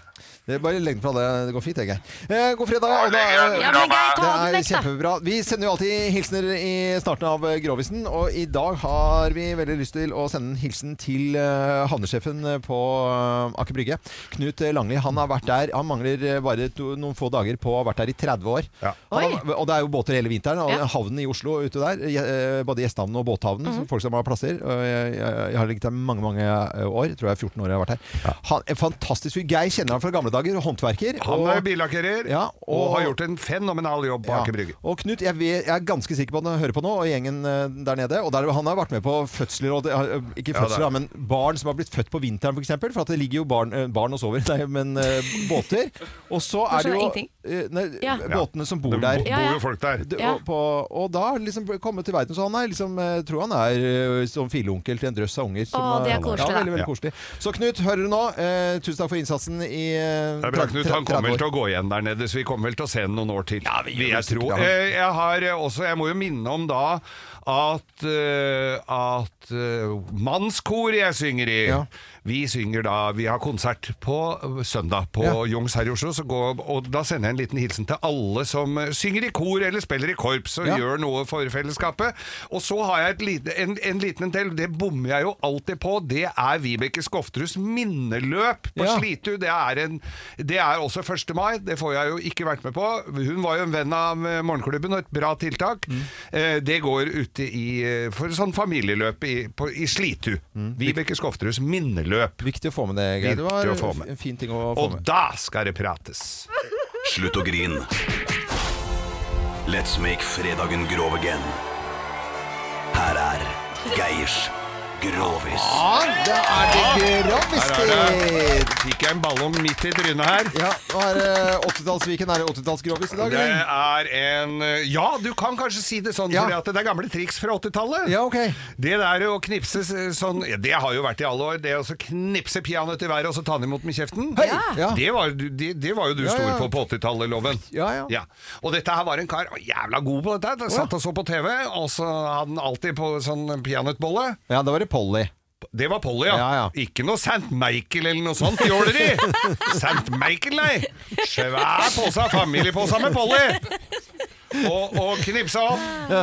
Det er bare legg den fra deg. Det går fint, jeg, Geir. Eh, God fredag. Og da, eh, legger den Ja, men fra Geir, det ta den er vekk, da. kjempebra. Vi sender jo alltid hilsener i starten av eh, Grovisen, og i dag har vi veldig lyst til å sende en hilsen til eh, havnesjefen eh, på eh, Aker Brygge. Knut eh, Langli. Han har vært der Han mangler eh, bare to, noen få dager på å ha vært der i 30 år. Han har, og det er jo båter hele vinteren. Og Ja. Mhm. havnen i Oslo ute der, eh, både gjestehavnen og båthavnen, som folk som har plasser. Og jeg, jeg, jeg har ligget der mange, mange eh, år. Jeg tror jeg er 14 år jeg har vært her. Han, en fantastisk fyr. Geir kjenner han fra gamle dager. Håndverker. Han er billakkerer Ja, og, har gjort en fenomenal jobb på Ja. Aker Brygge. Og Knut, jeg, vet, jeg er ganske sikker på at han hører på nå, og gjengen eh, der nede. Og der, han har vært med på fødsler, og det, eh, ikke Ja, det fødsler, er- da, men barn som har blitt født på vinteren, f.eks. For, eksempel, for at det ligger jo barn, eh, barn og sover, nei, men eh, båter. Og så er det jo Skjønner eh, nei, Ja. båtene som bor Det der. bo- bor jo folk der. Det- Ja. og, på, og da har liksom kommet til verden, så han er liksom eh, tror han er eh, som filleonkel til en drøss av unger. Som, Å, det er eh, koselig, ja, da. veldig, veldig Ja. koselig. Så Knut, hører du nå? Eh, tusen takk for innsatsen i eh, Det er bra, 30 Knut. 30 Han år. kommer vel til å gå igjen der nede, så vi kommer vel til å se ham noen år til. Ja, vi gjør jeg, sikkert tror. det, han. Eh, jeg har eh, også Jeg må jo minne om da at, eh, at eh, mannskor jeg synger i Vi synger da Vi har konsert på eh, søndag på Jungs her i Oslo, så går, og da sender jeg en liten hilsen til alle som eh, synger i kor eller spiller i korps og Ja. gjør noe for fellesskapet. Og så har jeg et lite, en, en liten en til, det bommer jeg jo alltid på. Det er Vibeke Skofterus minneløp på Ja. Slitu. Slitu, det er, en, det er også 1. mai, det får jeg jo ikke vært med på. Hun var jo en venn av eh, morgenklubben og et bra tiltak. Mm. Eh, Det går ute i eh, for sånn familieløp i, på, i Slitu. Mm. Vibeke Skofterus minneløp. Viktig å få med det, Geir. Det var en fin ting å få og med. da skal det prates! Slutt å grine. Let's make fredagen grov again. Her er Geirs Grovis. da er det Ah! Her er grovis-tid! det. Fikk jeg en ballong midt i trynet her. Ja, nå er det 80-tallsviken. Er det 80-tallsgrovis i dag, Det eller? er en eh, Ja, du kan kanskje si det sånn, fordi at det er gamle triks fra 80-tallet. Det der å knipse s- sånn ja, Det har jo vært i alle år. Det å så knipse peanøtt i været og så ta den imot med kjeften. Ja. Det, var, du- det, det var jo du Ja, stor ja. på på 80-tallet, Loven. Ja, ja. Og dette her var en kar å, jævla god på dette. her. Satt og så på TV, og så hadde han alltid på sånn peanøttbolle. Ja, da var det Polly. Det var Polly, ja. Ikke noe St. Michael eller noe sånt jåleri! St. Michael, nei! Svær pose, familiepose med Polly! Og, og knipsa opp.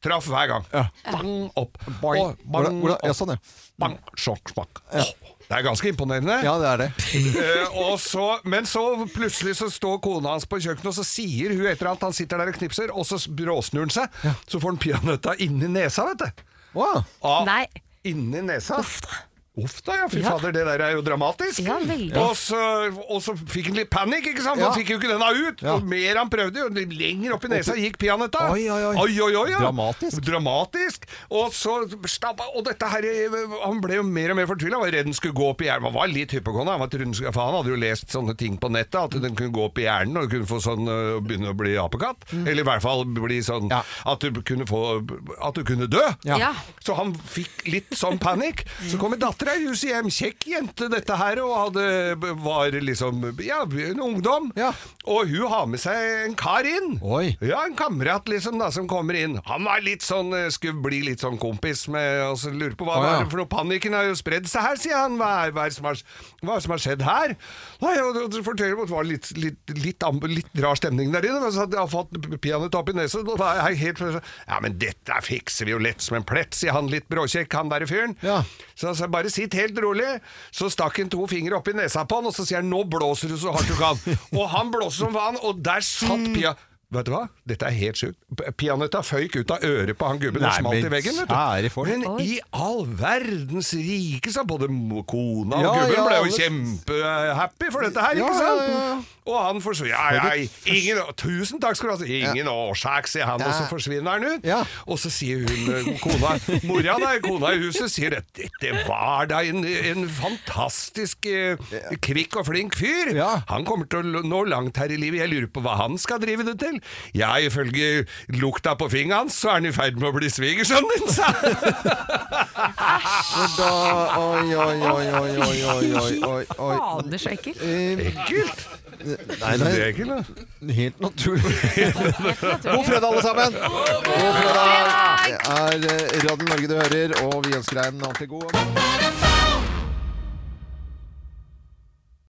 Traff hver gang. Bang opp. Og bang Hvordan- hvordan- ja, sånn, ja. Bang, sjokk, smakk. Åh, Det er ganske imponerende. Ja, det er det. Eh, og så, men så plutselig så står kona hans på kjøkkenet, og så sier hun etter at han sitter der og knipser, og så bråsnur han seg. Så får han peanøtta inni nesa, vet du. Ah, Inni nesa. Uff da. ja. Fy Ja. fader, det der er jo dramatisk. Ja, veldig. Og så, og så fikk han litt panikk, ikke sant? For Ja. Han fikk jo ikke denne ut. Ja. Jo mer han prøvde, jo lenger opp i nesa Oppi- gikk peanøtta. Oi, oi, oi. ja. Dramatisk. Dramatisk. Og så stabba Og dette her Han ble jo mer og mer fortvila. Han var redd den skulle gå opp i hjernen. Han var litt hypokonder, han var trun- for han hadde jo lest sånne ting på nettet, at den kunne gå opp i hjernen og kunne få sånn øh, begynne å bli apekatt. Mm. Eller i hvert fall bli sånn at du kunne få At du kunne dø. Ja. Ja. Så han fikk litt sånn panikk. Så kommer datteren Satt deg i huset hjem, kjekk jente dette her, og hadde, var liksom ja, en ungdom. Og hun har med seg en kar inn. Ja, en kamerat liksom da, som kommer inn. Han var litt sånn, eh, skulle bli litt sånn kompis med, og så lurer på hva Å, ja. var det for noe. Panikken har jo spredd seg her, sier han. Hva er, hva er, det som, har, hva er det som har skjedd her? Nei, og det- det forteller om at det var litt, litt, litt, amb- litt rar stemning der inne. men Så hadde jeg fått peanøtt opp i nesen, og da er jeg helt plutselig sånn, Ja, men dette fikser vi jo lett som en plett, sier han litt bråkjekk, han derre fyren. Så, så bare sitt helt rolig. Så stakk han to fingre opp i nesa på han, og så sier han 'nå blåser du så hardt du kan'. og han blåser som faen, og der Mm. satt pia... Vet du hva? Dette er helt sjukt. P- Peanøtta føyk ut av øret på han gubben og Nei, smalt men i veggen. kjære Vet du. folk. Men Oi. i all verdens rike, sa både mo- kona og Ja, gubben, ja, ble jo alle- kjempehappy for dette her, Ja, ikke ja, sant? ja, ja. Og han forsvinner ja, ja, ingen, Tusen takk skal du ha Ingen årsak, sier han Og så Ja. forsvinner han ut Og så sier hun, eh, kona Mora da, kona i huset sier at Dette var da en, en fantastisk eh, Kvikk og flink fyr Han kommer til å nå langt her i livet Jeg lurer på hva han skal drive det til Ja, ifølge lukta på fingeren hans Så er han i ferd med å bli svigersønnen din, sa han Og da Oi, oi, oi, oi, oi, oi, oi, oi, oi. Fader, så ekkelt. Ekkelt? Nei, Synes du det er ekkelt, Helt naturlig. God fredag, alle sammen! God fredag! Det er eh, Radio Norge du hører, og vi ønsker deg en alltid god